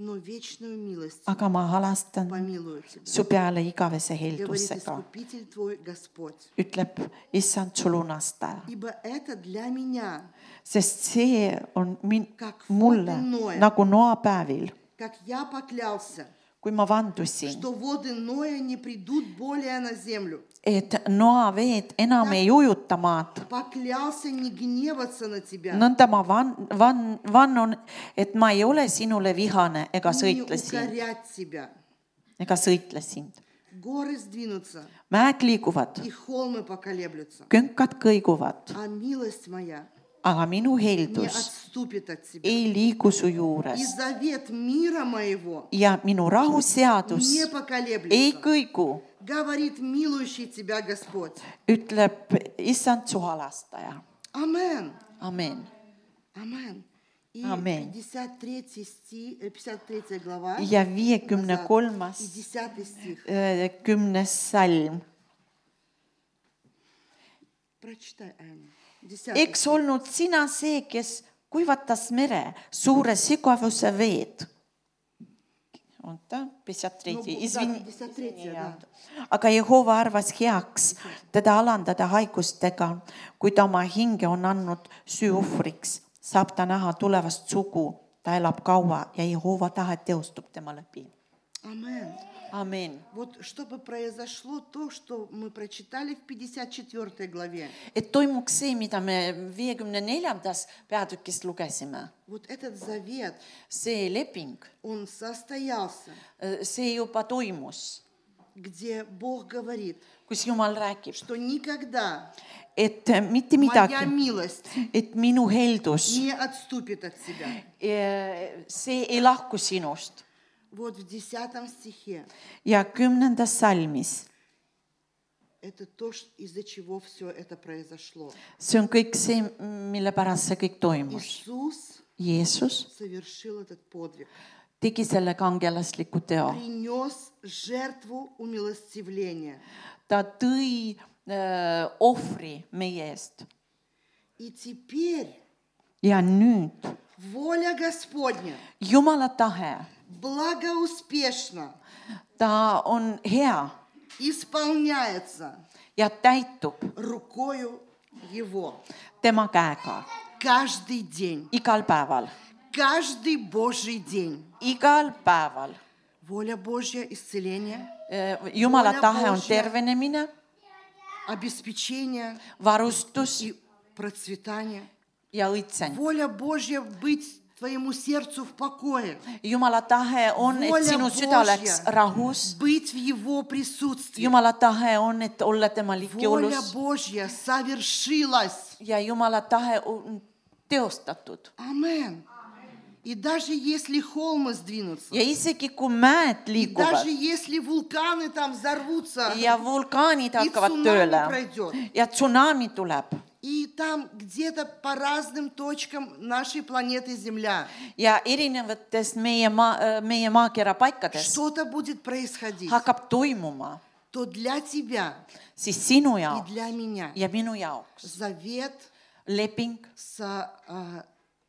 но вечную милость
aga ma halastan
помилую тебя.
su peale igavese
Говорит
heldusega ,
Искупитель твой Господь.
ütleb issand su lunastaja ,
Ибо это для меня,
sest see on min-
Как ,
mulle
voodi Noe.
nagu noapäevil ,
как я поклялся,
kui ma vandusin ,
что воды Ноя не придут более на землю.
et noaveed enam ei ujuta maad
Поклялся не гневаться на тебя,
nõnda ma van- , van- , vannun , et ma ei ole sinule vihane ega
не
sõitle sind ,
укорять тебя.
ega sõitle sind .
Горы сдвинутся,
mäed liiguvad ,
и холмы поколеblются.
künkad kõiguvad ,
А милость моя
aga minu
не
heldus
отступит от тебя.
ei liigu su
И
juures
завет мира моего
ja minu rahuseadus
не
ei
поколеблется.
kõigu ,
Говорит милующий тебя Господь.
ütleb issand su halastaja .
Амен.
amen .
Амен. И
Амен.
53, сти- э, 53 глава
ja viiekümne
назад,
kolmas
и 10 стих.
äh, kümnes salm
Прочитай, Аня. 10
eks olnud sina see , kes kuivatas mere suure sügavuse veed . oota ,
Ну,
pisatreidi
да, 53, да.
aga Jehova arvas heaks teda alandada haigustega , kui ta oma hinge on andnud süüohvriks , saab ta näha tulevast sugu , ta elab kaua ja Jehova tahe teostub tema läbi .
Амен.
amin .
Вот чтобы произошло то, что мы прочитали в 54 главе.
et toimuks see , mida me viiekümne neljandas peatükis lugesime ,
Вот этот завет,
see leping
он состоялся,
Äh, see juba toimus ,
где Бог говорит,
kus Jumal räägib ,
что никогда
et äh, mitte
моя
midagi ,
милость
et minu heldus ,
не отступит от тебя.
see ei lahku sinust
Вот в 10 стихе
ja kümnendas salmis ,
это то, ш- из-за чего все это произошло.
see on kõik see , mille pärast see kõik toimus .
Иисус
Jeesus
совершил этот подвиг,
tegi selle kangelasliku teo ,
принес жертву умилостивления.
ta tõi öö, ohvri meie eest
И теперь
ja nüüd
воля Господня
Jumala tahe ,
благоуспешно
ta on hea
исполняется
ja täitub
рукою Его
tema käega
каждый день,
igal päeval
каждый Божий день.
igal päeval .
Воля Божья исцеление,
jumala
Vola
tahe on
Božja.
tervenemine ,
обеспечение
varustus
и процветание.
ja õitseng .
Воля Божья быть твоему сердцу в покое,
jumala tahe on ,
Vola
et sinu süda
Božja.
oleks rahus .
быть в Его присутствии.
jumala tahe on , et olla tema
Воля
ligiolus
Божья совершилась.
ja jumala tahe on teostatud
Амен. И даже если холмы сдвинутся,
ja isegi kui mäed
и даже
liiguvad
если вулканы там взорвутся,
ja vulkaanid
и
hakkavad
цунами
tööle
пройдет,
ja tsunami tuleb
и там где-то по разным точкам нашей планеты Земля
ja erinevates meie maa , meie maakera paikades
что-то будет происходить,
hakkab toimuma ,
то для тебя
siis sinu
и
jaoks
для меня
ja minu jaoks
завет
leping ,
с а,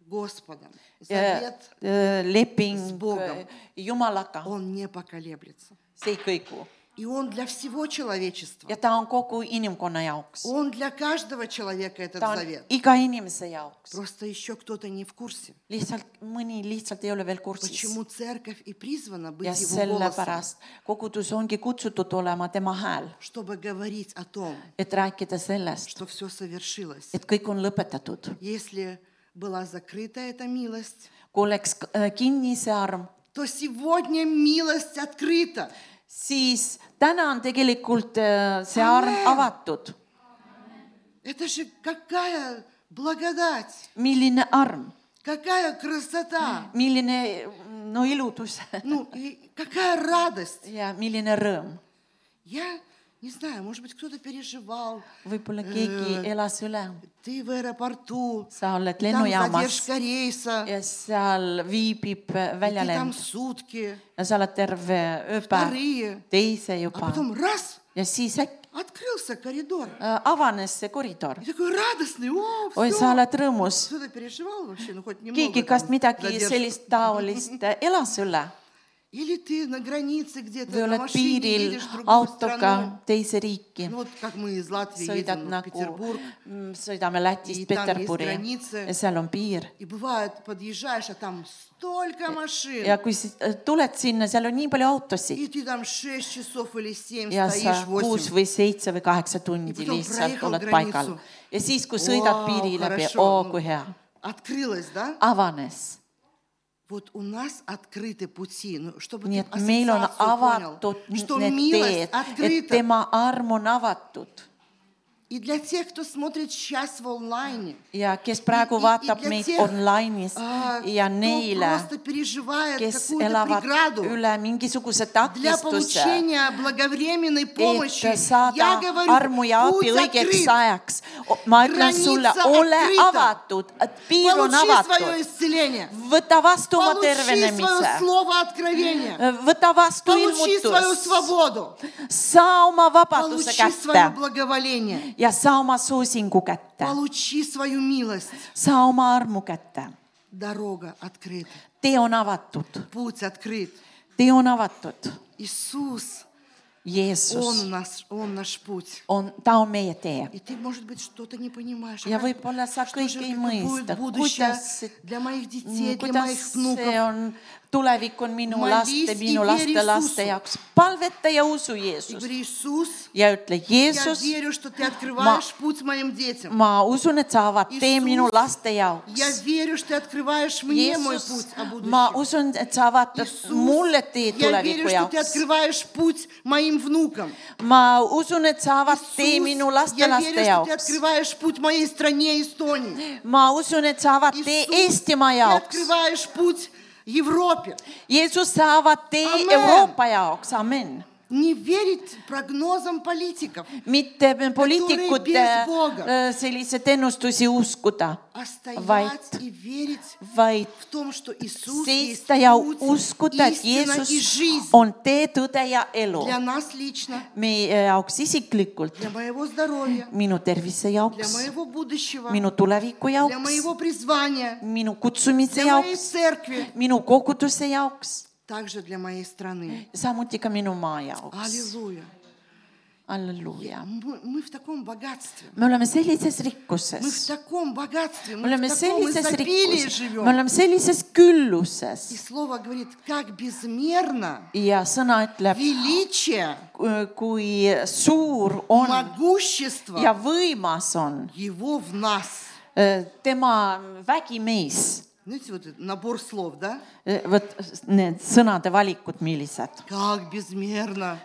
Господом, завет, S
leping
Bogom. ,
jumalaga ,
он не поколеблется.
see ei kõigu
И он для всего человечества.
ja ta on kogu inimkonna jaoks ,
Он для каждого человека этот
ta on
завет.
iga inimese jaoks ,
Просто еще кто-то не в курсе,
lihtsalt mõni lihtsalt ei ole veel kursis
почему церковь и призвана быть
ja
его голосом,
sellepärast kogudus ongi kutsutud olema tema hääl ,
чтобы говорить о том,
et rääkida sellest ,
что все совершилось.
et kõik on lõpetatud ,
Если была закрыта эта милость,
kui oleks äh, kinni see arm ,
то сегодня милость открыта.
siis täna on tegelikult äh, see arm
Amen.
avatud ,
Это же какая благодать,
milline arm ,
какая красота,
milline no iludus
ну и какая радость.
ja milline rõõm .
Я не знаю, может быть, кто-то переживал.
võib-olla keegi elas üle ,
Ты в аэропорту,
sa oled
там
lennujaamas
задержка рейса,
ja seal
и
viibib äh,
ты там
väljalend
сутки,
ja sa oled terve ööpäev ,
вторые,
teise
а
juba
потом раз,
ja siis äkki ,
открылся коридор.
avanes see koridor
И такой радостный, о,
oi , sa
все.
oled rõõmus ,
Что ты переживал вообще? Ну, хоть немного.
keegi
там
kas midagi
задержки.
sellist taolist äh, elas üle
Или ты на границе где-то
või
на
oled
машине
piiril
едешь в другую
autoga
страну.
teise riiki
Ну, вот как мы из Латвии
sõidad
едем ну, в
nagu
Петербург. ,
sõidame Lätist
И там есть
Peterburi
границы.
ja seal on piir
И бывает, подъезжаешь, а там столько машин.
ja kui si- tuled sinna , seal on nii palju autosid
И ты там 6 часов или 7
ja sa
стоишь,
kuus
8.
või seitse või kaheksa
Ja
tundi
potom
lihtsalt
проехал
oled paigal
granicu.
ja siis , kui sõidad piiri läbi , oo kui hea ,
Открылось, да?
avanes .
Вот у нас открыты пути. Ну, чтобы
nii
ты
et meil on
ассоциацию
avatud
понял, что
need
милость
teed , et
открыта.
tema arm on avatud
И для тех, кто смотрит сейчас в онлайне,
ja kes
И-
praegu
и-
vaatab
ja
meid
tead-
online'is
а, кто
ja neile ,
просто переживает
kes
какую-то
elavad
преграду
üle mingisuguse
для
takistuse
получения благовременной
et
помощи,
saada
я
armu
говорю,
ja abi
путь
õigeks
открыт.
ajaks . ma ütlen
Granitsa
sulle , ole
открыта.
avatud , piir on
Получи свое
avatud ,
исцеление.
võta vastu oma
Получи свое
tervenemise ,
слово
Э,
откровения.
võta vastu e
Получи свою
ilmutus ,
свободу.
saa oma vabaduse
Получи свое
kätte
благоволение.
ja saa oma suusingu kätte ,
Получи свою милость.
saa oma armu kätte .
Дорога открыта.
tee on avatud ,
Путь открыт.
tee on avatud ,
Иисус, Он, у
Jeesus
нас, он наш путь.
on , ta on meie tee
И ты, может быть, что-то не понимаешь. А
ja
как-
võib-olla sa
что
kõike
же
ei
какое будет
mõista ,
будущее
kuidas
для моих детей,
Mm,
для
kuidas
моих
see
внуков.
on , tulevik on minu
Ma
laste ,
liisti
minu
veri
laste ,
susu.
laste jaoks , palveta ja usu
И
Jeesus
говори, Иисус,
ja ütle ,
я
Jeesus ,
верю, что ты открываешь путь моим детям.
ma usun , et sa avad tee
Иисус,
minu laste
Я
jaoks .
верю, что ты открываешь мне мой
Jeesus
путь о ,
ma
будущем.
usun , et sa avad
Иисус,
mulle
я
tee
верю,
tuleviku
что ты
jaoks .
открываешь путь моим внукам.
ma usun , et sa avad tee minu
Иисус, я верю,
lastelaste
что ты
jaoks .
открываешь путь моей стране Эстонии.
ma usun , et sa avad tee
Иисус,
Eestimaa
ты
jaoks .
открываешь путь Европе.
Jeesus , sa avad tee
Amen.
Euroopa jaoks , amin
Не верить прогнозам политиков.
mitte poliitikute
без Бога.
äh, selliseid ennustusi uskuda ,
а стоять
Вайт.
и верить
vaid
в том, что Иисус есть
seista ja
путь,
uskuda , et
истина и
Jeesus
жизнь
on tee , tõde ja elu
для нас лично,
meie jaoks isiklikult ,
для моего здоровья,
minu tervise
для
jaoks ,
моего будущего,
minu tuleviku
для
jaoks ,
моего призвания,
minu
для
kutsumise
моей
jaoks ,
церкви,
minu koguduse jaoks ,
также для моей страны.
samuti ka minu maa jaoks .
Аллилуйя.
halleluuja ,
Мы, мы в таком богатстве.
me oleme sellises
Мы в
rikkuses ,
таком богатстве,
me
мы
oleme
в таком
sellises
изобилии
rikkuses ,
живем.
me oleme sellises külluses
И Слово говорит, как безмерно
ja sõna ütleb ,
величие,
kui suur on
могущество
ja võimas on
Его в нас.
äh, tema vägi meis .
Знаете, вот этот набор слов, да?
eh, vot need sõnade valikud , millised .
Как безмерно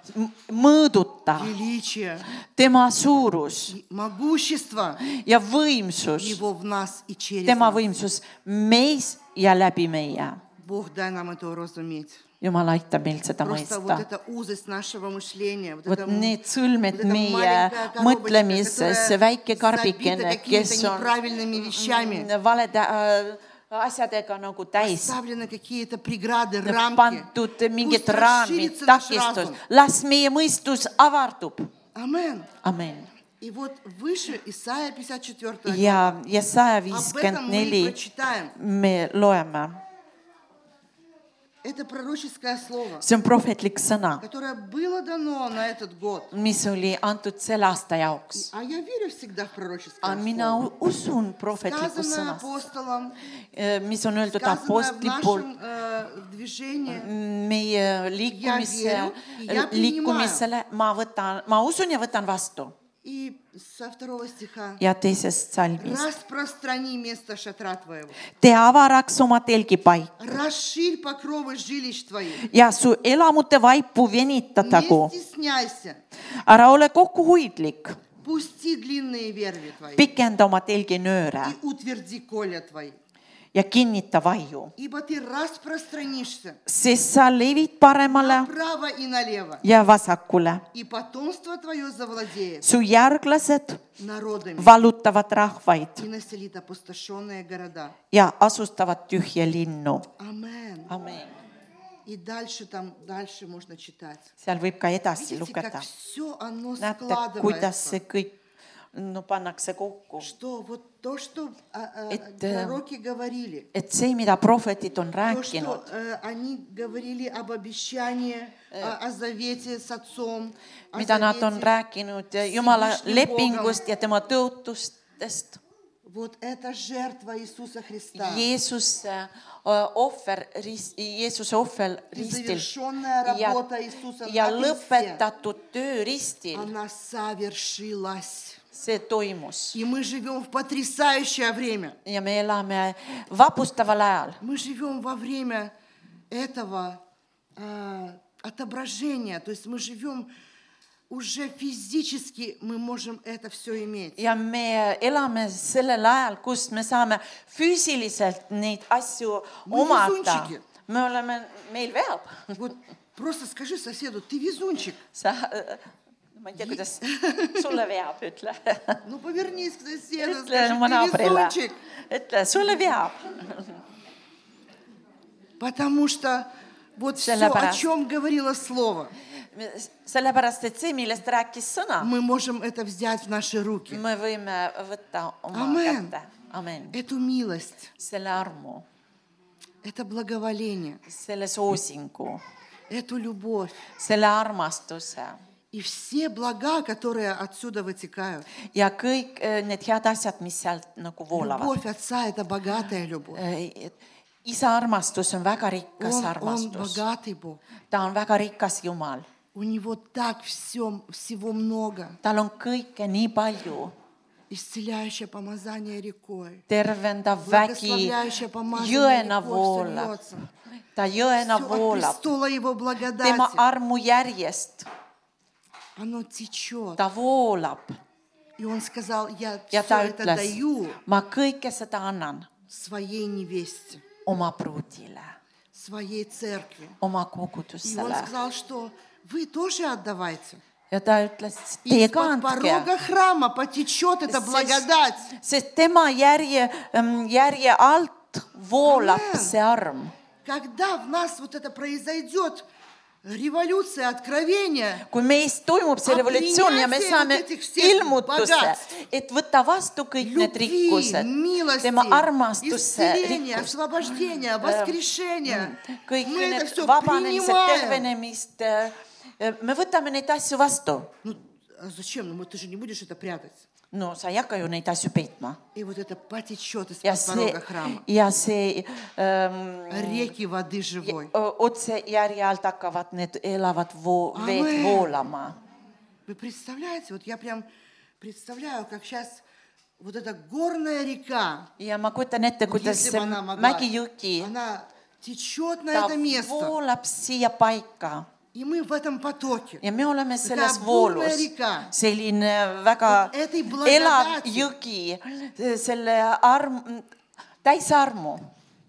mõõduta
величие,
tema suurus
и могущество
ja võimsus ,
Его в нас и через
tema
нас.
võimsus meis ja läbi meie .
Бог, дай нам это разуметь.
jumal aitab meil seda
Просто вот
mõista .
эта узость нашего мышления, вот,
vot
эта м-
need sõlmed
вот эта
meie
маленькая коробочка,
mõtlemises , see
которая
väike
забита
karbikene , kes
какими-то
on
неправильными вещами,
valede äh, asjadega nagu täis
ставлены какие-то преграды, рамки.
pandud
Пусть
mingid raamid ,
расширится наш
takistus
разум. ,
las meie mõistus avardub ,
Амен.
amen .
И вот выше Исаия 54
ja , ja saja
Об этом
viiskümmend
мы
neli
и прочитаем.
me loeme ,
Это пророческое слово,
see on prohvetlik sõna ,
которое было дано на этот год.
mis oli antud selle aasta jaoks .
А я верю всегда в пророческое
aga mina
слово.
u- usun prohvetlikku
Сказанное
sõna ,
апостолом,
mis on öeldud
сказанное в
apostli poolt
нашем э, движении.
meie liikumise
Ja , veeru- ja
liikumisele , ma võtan , ma usun ja võtan vastu
И со второго стиха.
ja teisest salmist .
Распространи место шатра твоего.
tee avaraks oma telgipaik .
Расширь покровы жилищ твоих.
ja su elamute vaipu venitatagu
Не . стесняйся.
ära ole kokkuhoidlik ,
Пусти длинные верви твои.
pikenda oma telginööre
И утверди коля твои.
ja kinnita vaiu ,
Ибо ты распространишься
sest sa levid paremale
направо и налево.
ja vasakule .
И потомство твое завладеет
su järglased
народами
vallutavad rahvaid
и населит опустошенные города.
ja asustavad tühje linnu .
Амен.
amin .
И дальше там, дальше можно читать.
seal võib ka edasi
Видите, как
lugeda .
все оно
näete , kuidas
складывается.
see kõik no pannakse kokku ,
Что вот то, что а, а,
Это-
пророки говорили,
et see , mida prohvetid
то,
on
что
rääkinud ,
э, они говорили об обещании, а, о, о завете с отцом, о
mida nad on
завете.
rääkinud Jumala
Всевышним
lepingust ja tema tõotustest ,
Вот это жертва Иисуса Христа.
Jeesuse äh, ohver , Jeesuse ohver
И
ristil
завершенная
ja
работа , Иисуса
ja
на кресте,
lõpetatud töö ristil ,
она совершилась.
see toimus
И мы живем в потрясающее время.
ja me elame vapustaval ajal ,
Мы живем во время этого а, отображения. То есть мы живем уже физически, мы можем это все иметь.
ja me elame sellel ajal , kus me saame füüsiliselt neid asju
Me
omada
visunčiki. .
me oleme , meil veab ,
Вот просто скажи соседу, ты везунчик.
sa , ma ei tea , kuidas sulle veab , ütle .
Ну повернись к соседу,
ütle
скажи,
mu
ты
naabrile
везунчик. ,
ütle sulle veab ,
Потому что вот все, о
Sellepärast.
чем говорило Слово,
sellepärast et see , millest rääkis sõna ,
мы можем это взять в наши руки.
me võime võtta oma
Amen.
kätte , amen ,
Эту милость,
selle armu ,
это благоволение,
selle soosingu ,
эту любовь
selle armastuse
и все блага, которые отсюда вытекают.
ja kõik eh, need head asjad , mis sealt nagu voolavad .
Любовь Отца – это богатая любовь.
Eh, isa armastus on väga rikas
Он,
on,
он
armastus ,
богатый Бог.
ta on väga rikas Jumal ,
У Него так все, всего много.
tal on kõike nii palju ,
Исцеляющее помазание рекой.
tervendav vägi
Благословляющее помазание
jõena
рекой все
voolab ,
льется.
ta jõena
Всё от
voolab ,
престола Его
tema
благодати.
armu järjest ,
Оно течет.
ta voolab
И он сказал, я
ja
все
ta
это
ütles
даю ,
ma kõike seda annan
своей невесте,
oma pruudile ,
своей церкви.
oma
И он
kogudusele
сказал, что вы тоже отдавайте.
ja ta ütles ,
И
teie
из-под
ka andke
порога храма потечет эта
Sest-
благодать.
sest tema järje , järje alt voolab
Amen.
see arm .
Когда в нас вот это произойдет, revoliutsia, откровение,
kui meis toimub see
Aga
revolutsioon ja me
принятие
saame
вот этих всех
ilmutuse
богатств, ,
et võta vastu kõik need
любви,
rikkused ,
милости,
tema armastuse
исцеления,
rikkust ,
освобождения, воскрешения.
kõik
Мы это
need
все
vabanemised ,
принимаем.
tervenemist , me võtame neid asju vastu .
Ну, а зачем? Ну, вот ты же не будешь это прятать.
no sa ei hakka ju neid asju peitma
И вот это потечет
ja
из-под
see
порога храма. А
ja see ähm,
Реки воды живой.
Ö- otse järje alt hakkavad need elavad voo- ,
Amen.
veed voolama .
Вы представляете, вот я прям представляю, как сейчас вот эта горная река,
ja ma kujutan ette ,
вот
kuidas
если
see
бы она могла,
mägijõgi ,
она течет на
ta
это место,
voolab siia paika
и мы в этом потоке.
ja me oleme selles
Taka
voolus
burna rika. ,
selline väga
Vot eti
elav
blagodati.
jõgi , selle arm , täis armu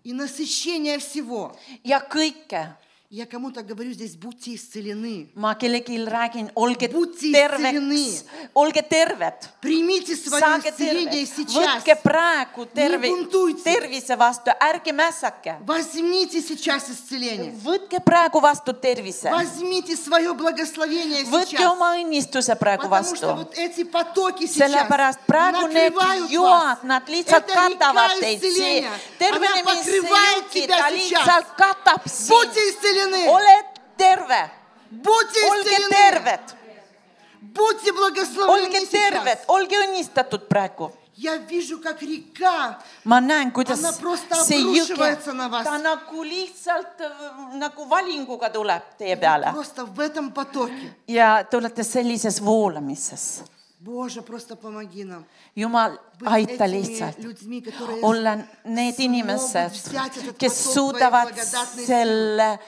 И насыщение всего.
ja kõike .
Я кому-то говорю здесь, будьте исцелены.
ma kellelgi räägin , olge
Будьте
terveks
исцелены. ,
olge terved
Примите свое
saage
исцеление
terve ,
сейчас.
võtke praegu terve
Nii puntuytse. ,
tervise vastu , ärge mässake .
Возьмите сейчас исцеление.
võtke praegu vastu tervise ,
Возьмите свое благословение
võtke
сейчас.
oma õnnistuse praegu
Потому что
vastu .
вот эти потоки сейчас
sellepärast praegu
накрывают
need
вас.
joad , nad lihtsalt
Это река
katavad teid , see
исцеления. Она покрывает
tervenemisjõuki ,
тебя
ta
сейчас.
lihtsalt katab
Будьте
sind .
исцелены.
ole terve ,
Будьте
olge
исцелены.
terved ,
Будьте благословлены
olge
сейчас.
terved , olge õnnistatud praegu
Я вижу, как река
ma näen , kuidas
Anna prosta
see jõge
обрушивается , на вас.
ta nagu lihtsalt äh, nagu valinguga tuleb teie peale
просто в этом потоке.
ja te olete sellises voolamises .
Боже, просто помоги нам.
jumal ,
Быть
aita
этими
lihtsalt
людьми, которые
olla
смогут
need
взять
inimesed
этот ,
kes
поток
suudavad
твоей благодатной
selle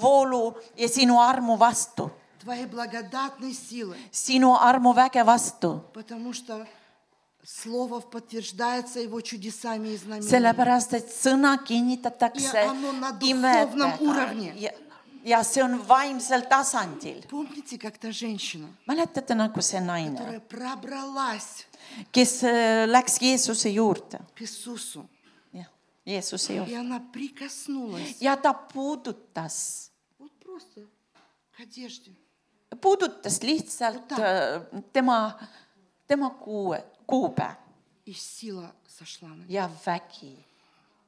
voolu ja sinu armu vastu ,
Твоей благодатной силы.
sinu armuväge vastu ,
Потому что Слово подтверждается его чудесами и знамениями.
sellepärast et sõna kinnitatakse
Ja anno na duhovnom
imedega
uravni.
ja, ja see on vaimsel tasandil .
Помните, как та женщина,
mäletate nagu see naine ,
которая пробралась
kes äh, läks Jeesuse juurde ,
к Иисусу,
jah , Jeesuse
и
juurde
она прикоснулась
ja ta puudutas
просто к одежде.
puudutas lihtsalt
Võta.
äh, tema , tema kuu , kuube
И сила сошла на нее.
ja vägi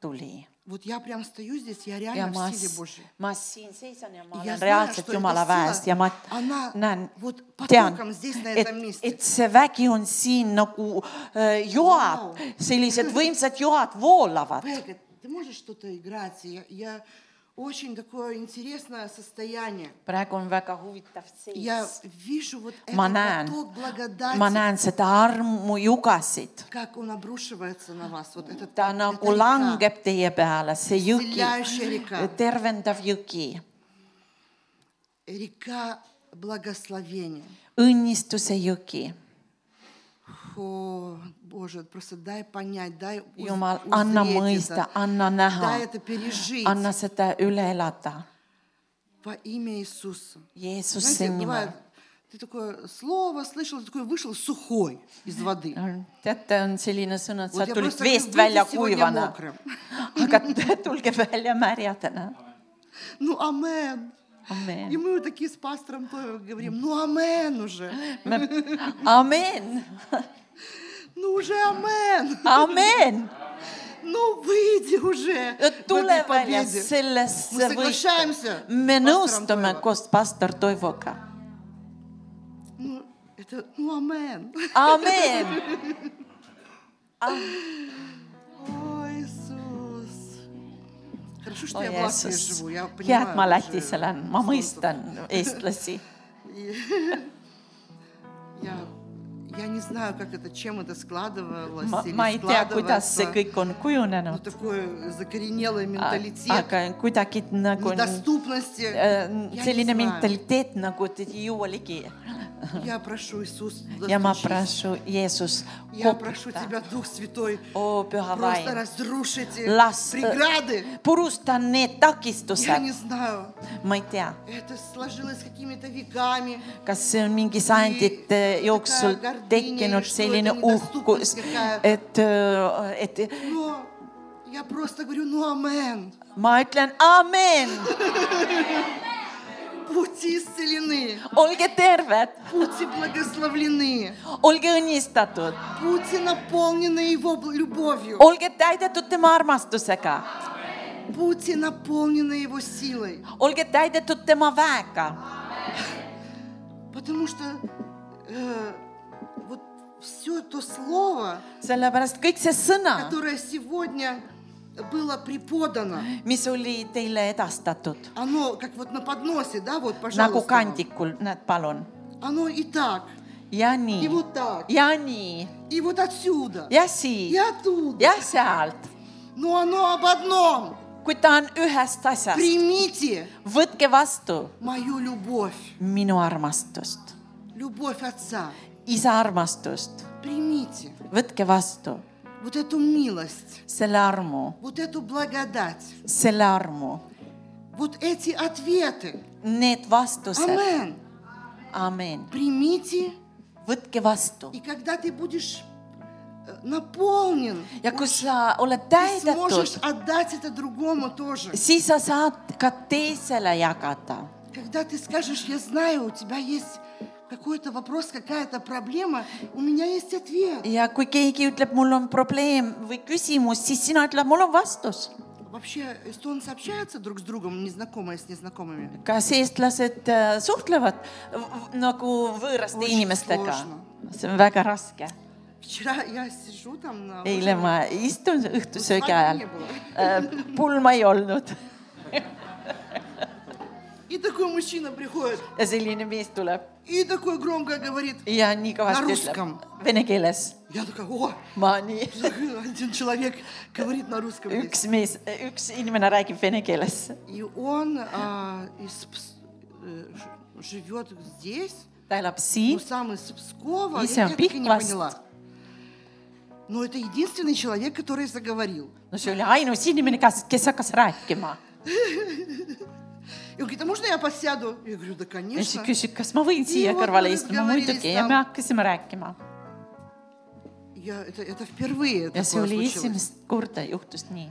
tuli .
Вот я прям стою здесь, я
ja
реально
ma
в силе Божьей.
ma siin seisan ja ma
Ja
olen
sa-
reaalselt
sa-
Jumala
sa-
väes ja ma
anna-
näen
vot ,
tean
patukam , siis näed
et
ta mist. ,
et see vägi on siin nagu
э,
äh, joab , sellised võimsad joad voolavad .
Бэка, ты можешь что-то играть? Я, я- очень такое интересное состояние.
praegu on väga huvitav
Я
seis .
вижу вот
ma
этот
näen
поток , благодати,
ma näen seda armujugasid ,
как он обрушивается на вас. Вот этот,
ta
эта
nagu
река.
langeb teie peale , see jõgi
Исцеляющая река. ,
tervendav jõgi ,
Река благословения.
õnnistuse jõgi .
О, Боже, просто дай понять, дай уз-
Jumal, anna
узреть
mõista,
это.
anna näha
Дай это , пережить
anna seda üle elada
во имя Иисуса.
Jeesuse
Знаете,
nimel
бывает, ты такое слово слышал, ты такой вышел сухой из воды.
teate , on selline sõna , et sa
Вот я
tulid
просто говорю,
veest
«Выйди
välja
сегодня
kuivana ,
мокрым».
aga tulge välja märjadena .
Ну, амен. И
amen ,
мы вот такие с пастором Тойо говорим, ну, амен уже.
amen ,
Ну, уже амен.
amen ,
Ну, выйди уже в
tule
этой
välja
победе.
sellesse
Мы
võitu
соглашаемся .
me
с пастором
nõustume
Тойо.
koos pastor Toivoga ,
Ну, это, ну, амен.
amen ,
О, Иисус. Хорошо, что
o
я в Латвии
Oh, Jeesus
живу, я ,
hea , et ma
понимаю уже
Lätis elan , ma
смысл.
mõistan eestlasi ,
Я, я не знаю, как это, чем это складывалось
ma ,
или
ma ei tea , kuidas see
складывается.
kõik on
Ну,
kujunenud ,
такой закоренелый менталитет,
aga kuidagi nagu on
недоступности.
Äh,
Я
selline
не знаю.
mentaliteet nagu , et ei jõua ligi
Я прошу, Иисус,
ja ma
достучись.
praegu Jeesus
Я прошу
koputa ,
Тебя, Дух Святой,
oo püha
просто
vaim ,
разрушь эти
Лас-
преграды.
purusta
Я
need takistused
не , знаю,
ma ei tea ,
это сложилось какими-то веками.
kas see on mingi sajandite jooksul tekkinud selline uhkus , et , et
Но я просто говорю, ну амен,
ma ütlen amen ,
пути исцелены,
olge terved ,
пути благословлены,
olge õnnistatud ,
пути наполнены Его бл- любовью,
olge täidetud tema armastusega ,
пути наполнены Его силой.
olge täidetud tema väega
Потому что э, вот все то слово,
sellepärast kõik see sõna ,
которое сегодня было преподано,
mis oli teile edastatud
оно как вот на подносе, да, вот,
nagu
пожалуйста. вам.
kandikul , näed , palun .
Оно и так,
ja
и
nii ,
вот так,
ja nii ,
и вот отсюда,
ja
и
siia ,
оттуда.
ja sealt ,
Но оно об одном.
kui ta on ühest asjast ,
Примите
võtke vastu
мою любовь,
minu armastust ,
любовь Отца.
isa armastust ,
Примите
võtke vastu
вот эту милость,
selle armu ,
вот эту благодать,
selle armu ,
вот эти ответы.
need vastused ,
Амен.
amen ,
Примите
võtke vastu
И когда ты будешь э, наполнен,
ja kui sa oled
ты сможешь
täidetud ,
отдать это другому тоже.
siis sa saad ka teisele jagada
Когда ты скажешь, я знаю, у тебя есть какой-то вопрос, какая-то проблема, у меня есть ответ.
ja kui keegi ütleb , mul on probleem või küsimus , siis sina ütled , mul on vastus .
Вообще, эстонцы общаются друг с другом, незнакомые с незнакомыми?
kas eestlased äh, suhtlevad v- nagu võõraste
Oi,
inimestega
soožno. ?
see on väga raske .
Вчера я сижу там на...
eile
ужине.
ma istun õhtusöögi ajal
Свадьбы не было. ,
pulma ei olnud
И такой мужчина приходит,
ja selline mees tuleb
и такой громко говорит.
ja nii
Na
kõvasti
ruskam.
ütleb vene keeles .
Я такая, о,
ma nii ,
один человек говорит на русском. здесь.
üks mees , üks inimene räägib vene keeles ,
И он а, из Пс- э, ж- живет здесь,
ta elab
ну,
siin
сам из Пскова.
Если
я
он
так и не
пиквас-
поняла. Но это единственный человек, который заговорил.
no see oli ainus inimene , kes , kes hakkas rääkima .
И он говорит, а можно я посяду? Я говорю, да,
ja siis
конечно.
küsib , kas ma võin siia
Niimoodi
kõrvale
me
istuma ,
разговорились
muidugi ja
там.
me hakkasime rääkima
Я, это, это впервые
ja
такое
see oli
случилось.
esimest korda juhtus nii .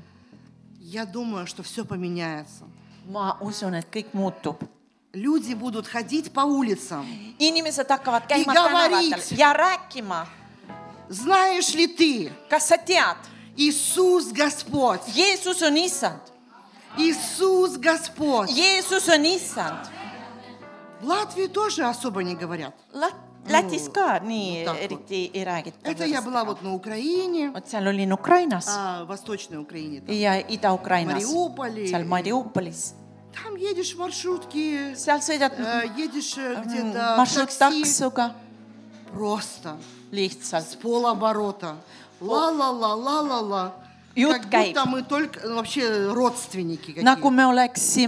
Я думаю, что все поменяется.
ma usun , et kõik muutub
Люди будут ходить по улицам.
inimesed hakkavad käima
Ja varit.
tänavatel ja rääkima ,
Знаешь ли ты,
kas sa tead ,
Иисус Господь,
Jeesus on issand ,
Иисус Господь.
Jeesus on issand .
В Латвии тоже особо не говорят.
Lätis ka nii
no tahavad.
eriti ei räägita .
Это я была вот на Украине,
vot seal olin Ukrainas
а, в Восточной Украине. там.
ja Ida-Ukrainas ,
Mariupoli.
seal Mariupolis ,
Там едешь в маршрутке,
seal sõidad mm,
э, едешь э, где-то в такси.
maršruttaksoga
Просто с
lihtsalt ,
полоборота. Ла-ла-ла-ла-ла-ла.
Ют
Как
Гайб.
будто мы только ну, вообще родственники
nagu
какие
me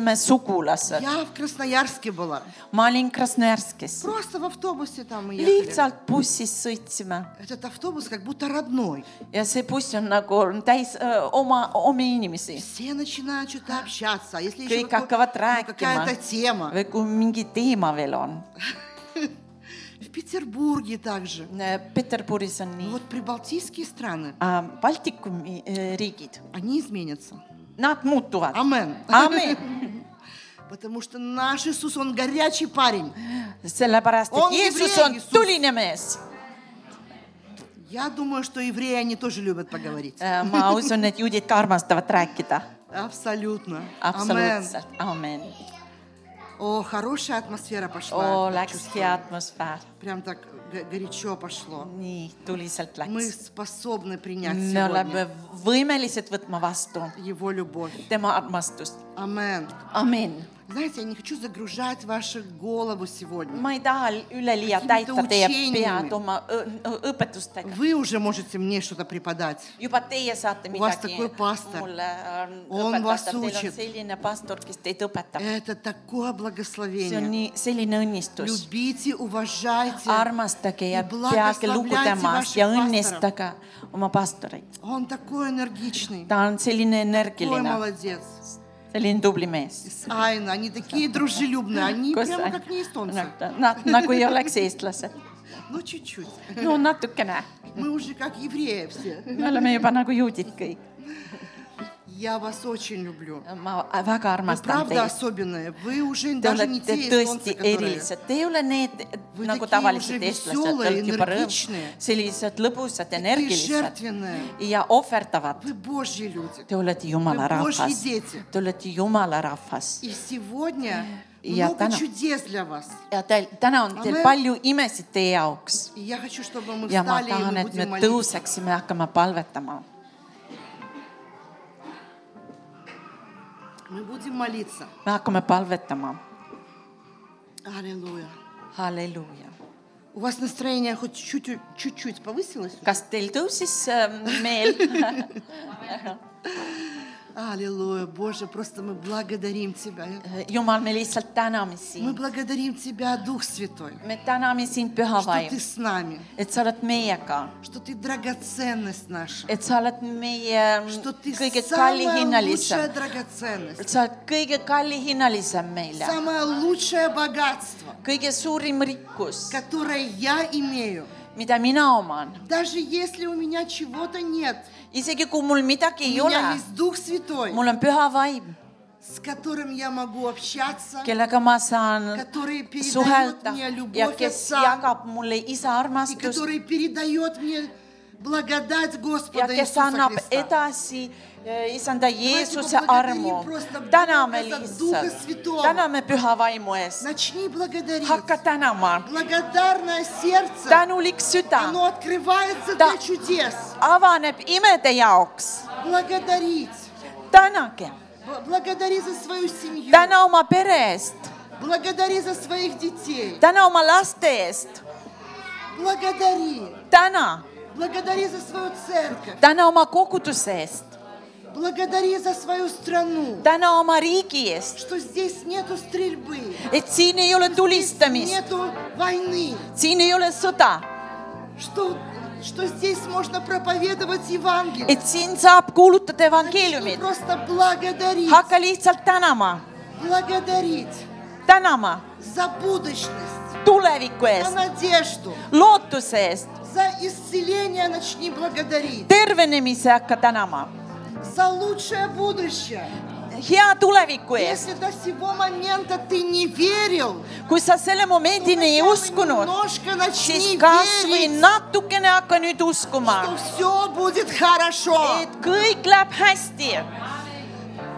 oleksime sugulased .
Я в Красноярске была.
ma olin Krasnojarskis ,
Просто в автобусе там мы ехали.
lihtsalt bussis sõitsime
Этот автобус как будто родной.
ja see buss on nagu täis öö, oma , omi inimesi .
Все начинают что-то общаться. А если еще
kõik
вот ко-
hakkavad
ну,
rääkima
какая-то тема.
või kui mingi teema veel on .
В Петербурге также.
Peterburis on
Ну
nii .
вот прибалтийские страны,
Baltikumi öö, riigid ,
они изменятся.
nad muutuvad .
Амен.
Amen ,
Потому что наш Иисус, Он горячий парень.
sellepärast
On
et Jeesus
evrei,
on
Jeesus.
tuline mees .
Я думаю, что евреи, они тоже любят поговорить.
Äh, ma usun , et juudid ka armastavad rääkida .
Абсолютно. Амен.
absoluutselt , amen .
О, хорошая атмосфера
oo
пошла. ,
läks hea atmosfäär ,
Прям так г- горячо пошло.
nii tuliselt
Мы
läks .
способны принять
me oleme
сегодня
võimelised võtma vastu
Его любовь.
tema armastust .
Амен.
amin .
Знаете, я не хочу загружать вашу голову сегодня.
ma ei taha üleliia täita
Mingite
teie
utšenimi.
pead oma õ- õ- õpetustega .
Вы уже можете мне что-то преподать.
juba teie saate
У вас
midagi
такой pastor.
mulle ähm,
On vas
õpetada , teil on
učib.
selline pastor , kes teid õpetab .
Это такое
see on
благословение.
nii , selline õnnistus .
Любите, уважайте.
armastage ja
Ja благословляйте
peage lugu temast
vaši
ja
pastorit.
õnnistage oma pastoreid .
Он такой энергичный.
ta on selline
Такой
energiline ,
молодец.
selline tubli mees .
С Айна, они такие дружелюбные. Они прямо как не эстонцы.
nad nagu ei oleks eestlased .
Ну, чуть-чуть.
no natukene
Мы уже как евреи все.
me oleme juba nagu juudid kõik .
Я вас очень люблю.
ma
Вы
väga armastan
правда
teid .
особенные. Вы уже
Te
даже не
olete
те эстонцы,
tõesti
которые...
erilised , te ei ole need
Вы
nagu
такие
tavalised
уже
eestlased ,
весёлые,
te olete juba rõõm ,
энергичные.
sellised lõbusad ,
Такие
energilised
жертвенные.
ja ohverdavad .
Вы Божьи люди.
Te olete jumala
Вы Божьи
rahvas ,
дети.
te olete jumala rahvas
И сегодня
Я
Э, много
Тана.
чудес для вас.
ja teil täna on teil
Amen.
palju imesid teie jaoks
И я хочу, чтобы мы
ja ma
встали и
tahan ,
мы
et
будем
me
молиться.
tõuseksime ja hakkame palvetama .
Мы будем молиться.
me hakkame palvetama ,
Аллилуйя.
halleluuja .
У вас настроение хоть чуть- чуть-чуть повысилось?
kas teil tõusis äh, meel ?
Аллилуйя, Боже, просто мы благодарим Тебя.
jumal , me lihtsalt täname
Мы
sind ,
благодарим Тебя, Дух Святой,
me täname sind , püha
что
vaim
Ты , с нами,
et sa oled meiega ,
что Ты драгоценность наша,
et sa oled meie
что Ты
kõige
самая лучшая
kallihinnalisem ,
драгоценность,
sa oled kõige kallihinnalisem meile ,
самое лучшее богатство,
kõige suurim rikkus ,
которое я имею.
mida mina oman .
Даже если у меня чего-то нет,
isegi kui mul midagi
у
ei ole
меня есть Дух Святой,
mul on püha vaim ,
с которым я могу общаться,
kellega ma saan
который передает
suhelda
мне
ja
любовь
kes
Отца,
jagab mulle isa
и
armastust
который передает мне благодать
ja
Господа
kes
Иисуса
annab
Христа.
edasi eh, isanda Jeesuse
поблагодарим
armu
просто Бога .
täname
за Духа
lihtsalt
Святого. ,
täname püha vaimu eest ,
Начни благодарить.
hakka tänama ,
Благодарное сердце,
tänulik süda
оно открывается
Да.
для чудес.
avaneb imede jaoks ,
Благодарить.
tänage ,
Б- Благодари за свою семью.
täna oma pere eest ,
Благодари за своих детей.
täna oma laste eest ,
Благодари.
täna ,
Благодари за свою церковь.
täna oma koguduse eest ,
Благодари за свою страну.
täna oma riigi eest ,
Что здесь нету стрельбы.
et siin ei ole tulistamist ,
Нету войны.
siin ei ole sõda ,
Что, что здесь можно проповедовать Евангелие.
et siin saab kuulutada
Начни
evangeeliumit ,
просто благодарить.
hakka lihtsalt tänama ,
Благодарить
tänama
за будущность,
tuleviku
за
eest ,
надежду,
lootuse eest ,
за исцеление начни благодарить.
tervenemise hakka tänama ,
за лучшее будущее.
hea tuleviku eest ,
Если до сего момента ты не верил,
kui sa selle momendini ei
хотя бы
uskunud ,
немножко
siis
начни
kasvõi
верить,
natukene hakka nüüd uskuma ,
что все будет хорошо.
et kõik läheb hästi ,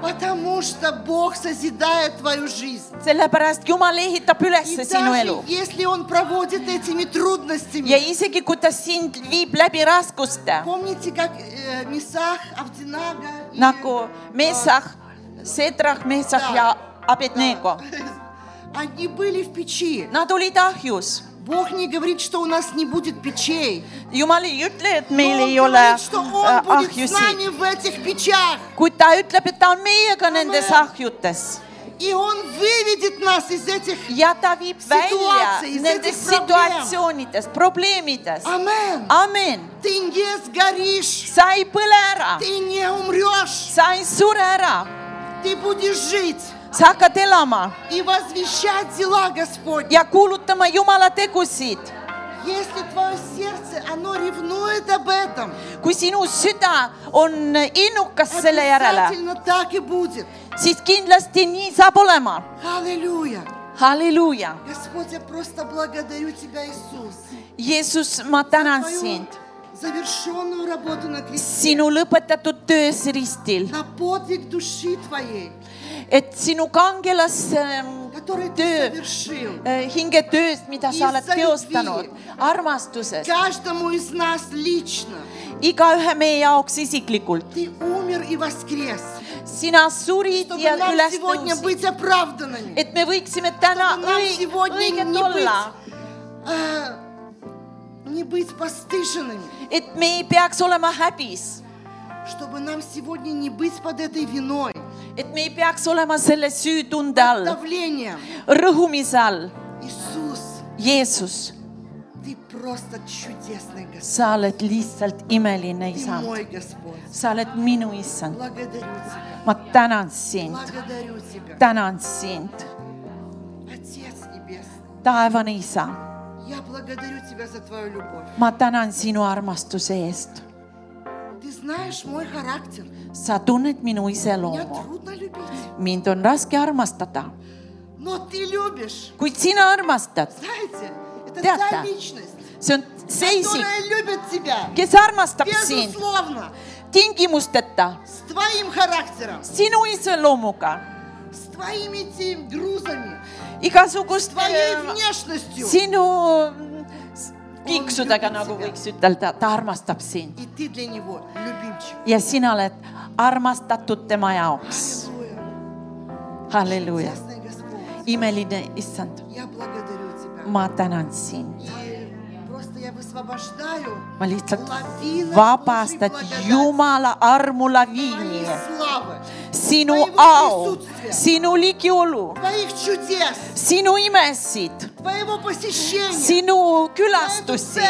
Потому что Бог созидает твою жизнь.
sellepärast Jumal ehitab üles
И
sinu
даже
elu
если Он проводит этими
ja
трудностями,
isegi kui ta sind viib läbi raskuste ,
помните, как э, Месах, Авдинага и,
nagu
э,
Mesach , Sedrach , Mesach ja Abednego ,
Они были в печи.
nad olid ahjus .
Бог не говорит, что у нас не будет печей.
Jumal ei ütle , et
Но
meil
Он
ei ole
говорит, что Он
äh,
будет с
ahjusid ,
нами в этих печах.
kuid ta ütleb , et ta on meiega nendes ahjutes
И Он выведет нас из этих...
ja ta viib välja
Situatsioonist,
nendest
nendest
situatsioonidest , probleemidest .
Амен.
А- amin ,
Ты не сгоришь.
sa ei põle ära ,
Ты не умрешь.
sa ei sure ära ,
Ты будешь жить
sa hakkad elama
и возвещать дела Господь.
ja kuulutama Jumala tegusid .
Если твое сердце, оно ревнует об этом,
kui sinu süda on innukas selle järele ,
обязательно так и будет.
siis kindlasti nii saab olema .
Аллилуйя.
halleluuja ,
Господь, я просто благодарю Тебя, Иисус,
Jeesus , ma tänan
твою
sind
завершенную работу на кресте,
sinu lõpetatud töös ristil , E
на подвиг души Твоей,
et sinu kangelas
который Ты
töö ,
совершил.
e, hingetööst , mida sa oled
Issand
teostanud
viib. ,
armastuses ,
Каждому из нас лично.
igaühe meie jaoks isiklikult .
Ты умер и воскрес,
sina surid
чтобы
ja
нам
üles
сегодня
tõusid ,
быть оправданными.
et me võiksime täna
Чтобы нам
õig-
сегодня
õiged
не
olla ,
быть, а, не быть постыженными,
et me ei peaks olema häbis ,
чтобы нам сегодня не быть под этой виной,
et me ei peaks olema selle süütunde all ,
давлением.
rõhumise all .
Иисус,
Jeesus ,
Ты просто чудесный Господь.
sa oled lihtsalt imeline
Ты
isa ,
мой Господь.
sa oled minu issand ,
Благодарю Тебя.
ma tänan sind ,
Благодарю Тебя.
tänan sind ,
Отец Небесный,
taevane isa ,
я благодарю Тебя за Твою любовь.
ma tänan sinu armastuse eest .
Ты знаешь мой характер.
sa tunned minu
Меня
iseloomu ,
трудно любить.
mind on raske armastada ,
Но Ты любишь.
kuid sina armastad ,
Знаете, это
Да,
та
да.
личность,
see on seisik ,
которая любит Тебя.
kes armastab sind
Безусловно.
tingimusteta ,
С Твоим характером.
sinu iseloomuga ,
С Твоими этими грузами. С
igasugust
Твоей
Э,
внешностью.
sinu s- piiksudega , nagu võiks ütelda , ta armastab sind
И Ты для Него любимчик.
ja sina oled armastatud tema jaoks .
Аллилуйя.
halleluuja ,
Чудесный Господь.
imeline issand ,
Я благодарю Тебя.
ma tänan sind ,
И просто я высвобождаю
ma lihtsalt
лавину
vabastad Jumala armulaviini ,
славы,
sinu au , sinu ligiolu ,
твоих чудес,
sinu imesid ,
твоего посещения.
sinu külastusi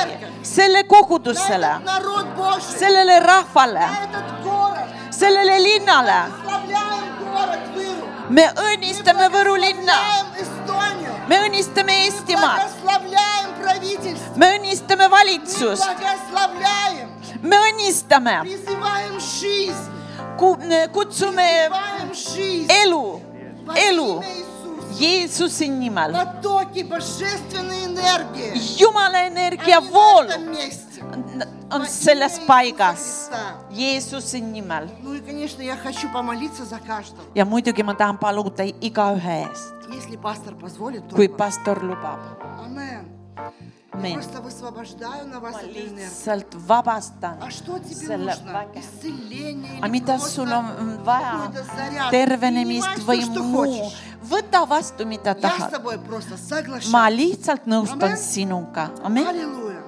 selle kogudusele
На этот народ Божий,
sellele rahvale ,
на этот город.
sellele linnale ,
Славляем город Выру.
me õnnistame Võru linna ,
Славляем Эстонию.
me õnnistame Eestimaad ,
Благословляем правительство.
me õnnistame
Мы
valitsust ,
благословляем.
me õnnistame ,
Призываем жизнь.
kutsume
Призываем жизнь.
elu ,
Во
elu
имя Иисуса.
Jeesuse nimel ,
потоки божественной энергии.
Jumala
Они на
energiavool
этом месте.
on selles paigas , Jeesuse nimel
Ну и, конечно, я хочу помолиться за каждого.
ja muidugi ma tahan paluda igaühe eest ,
Если пастор позволит, то...
kui pastor lubab ,
Амен. Я
Amen.
просто высвобождаю на вас
ma
эту энергию.
lihtsalt vabastan
А что тебе
selle
нужно?
väge
Исцеление или
aga mida
просто
sul on vaja
какой-то заряд?
tervenemist
Принимай
või
всё, что
muu
хочешь. ,
võta vastu , mida
Я с
tahad .
тобой просто соглашаюсь.
ma lihtsalt nõustun
Amen.
sinuga , amin ,
Аллилуйя.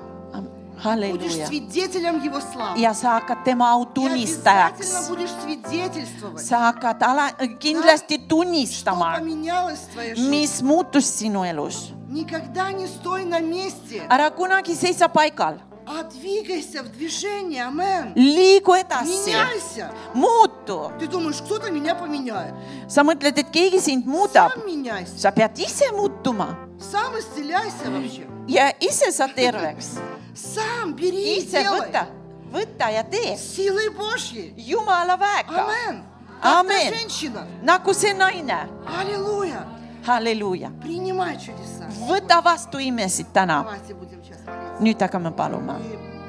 Будешь
halleluuja .
свидетелем Его славы.
ja sa hakkad tema
Ты
au
обязательно
tunnistajaks ,
будешь свидетельствовать.
sa hakkad ala- , kindlasti
Что
tunnistama ,
поменялось в твоей жизни?
mis muutus sinu elus .
Никогда не стой на месте,
ära kunagi seisa paigal ,
а двигайся в движении, амен.
liigu edasi ,
Меняйся.
muutu .
Ты думаешь, кто-то меня поменяет.
sa mõtled , et keegi sind muudab ,
Сам меняйся,
sa pead ise muutuma
сам исцеляйся вообще.
ja ise sa terveks ,
Сам бери и
ise
делай.
võta , võta ja tee
силой Божьей.
Jumala väega ,
Амен.
Амен.
Амин. женщина.
nagu see naine ,
Аллилуйя.
halleluuja ,
Принимай чудеса.
võta vastu imesid täna .
Давайте будем сейчас молиться.
nüüd aga me palume
И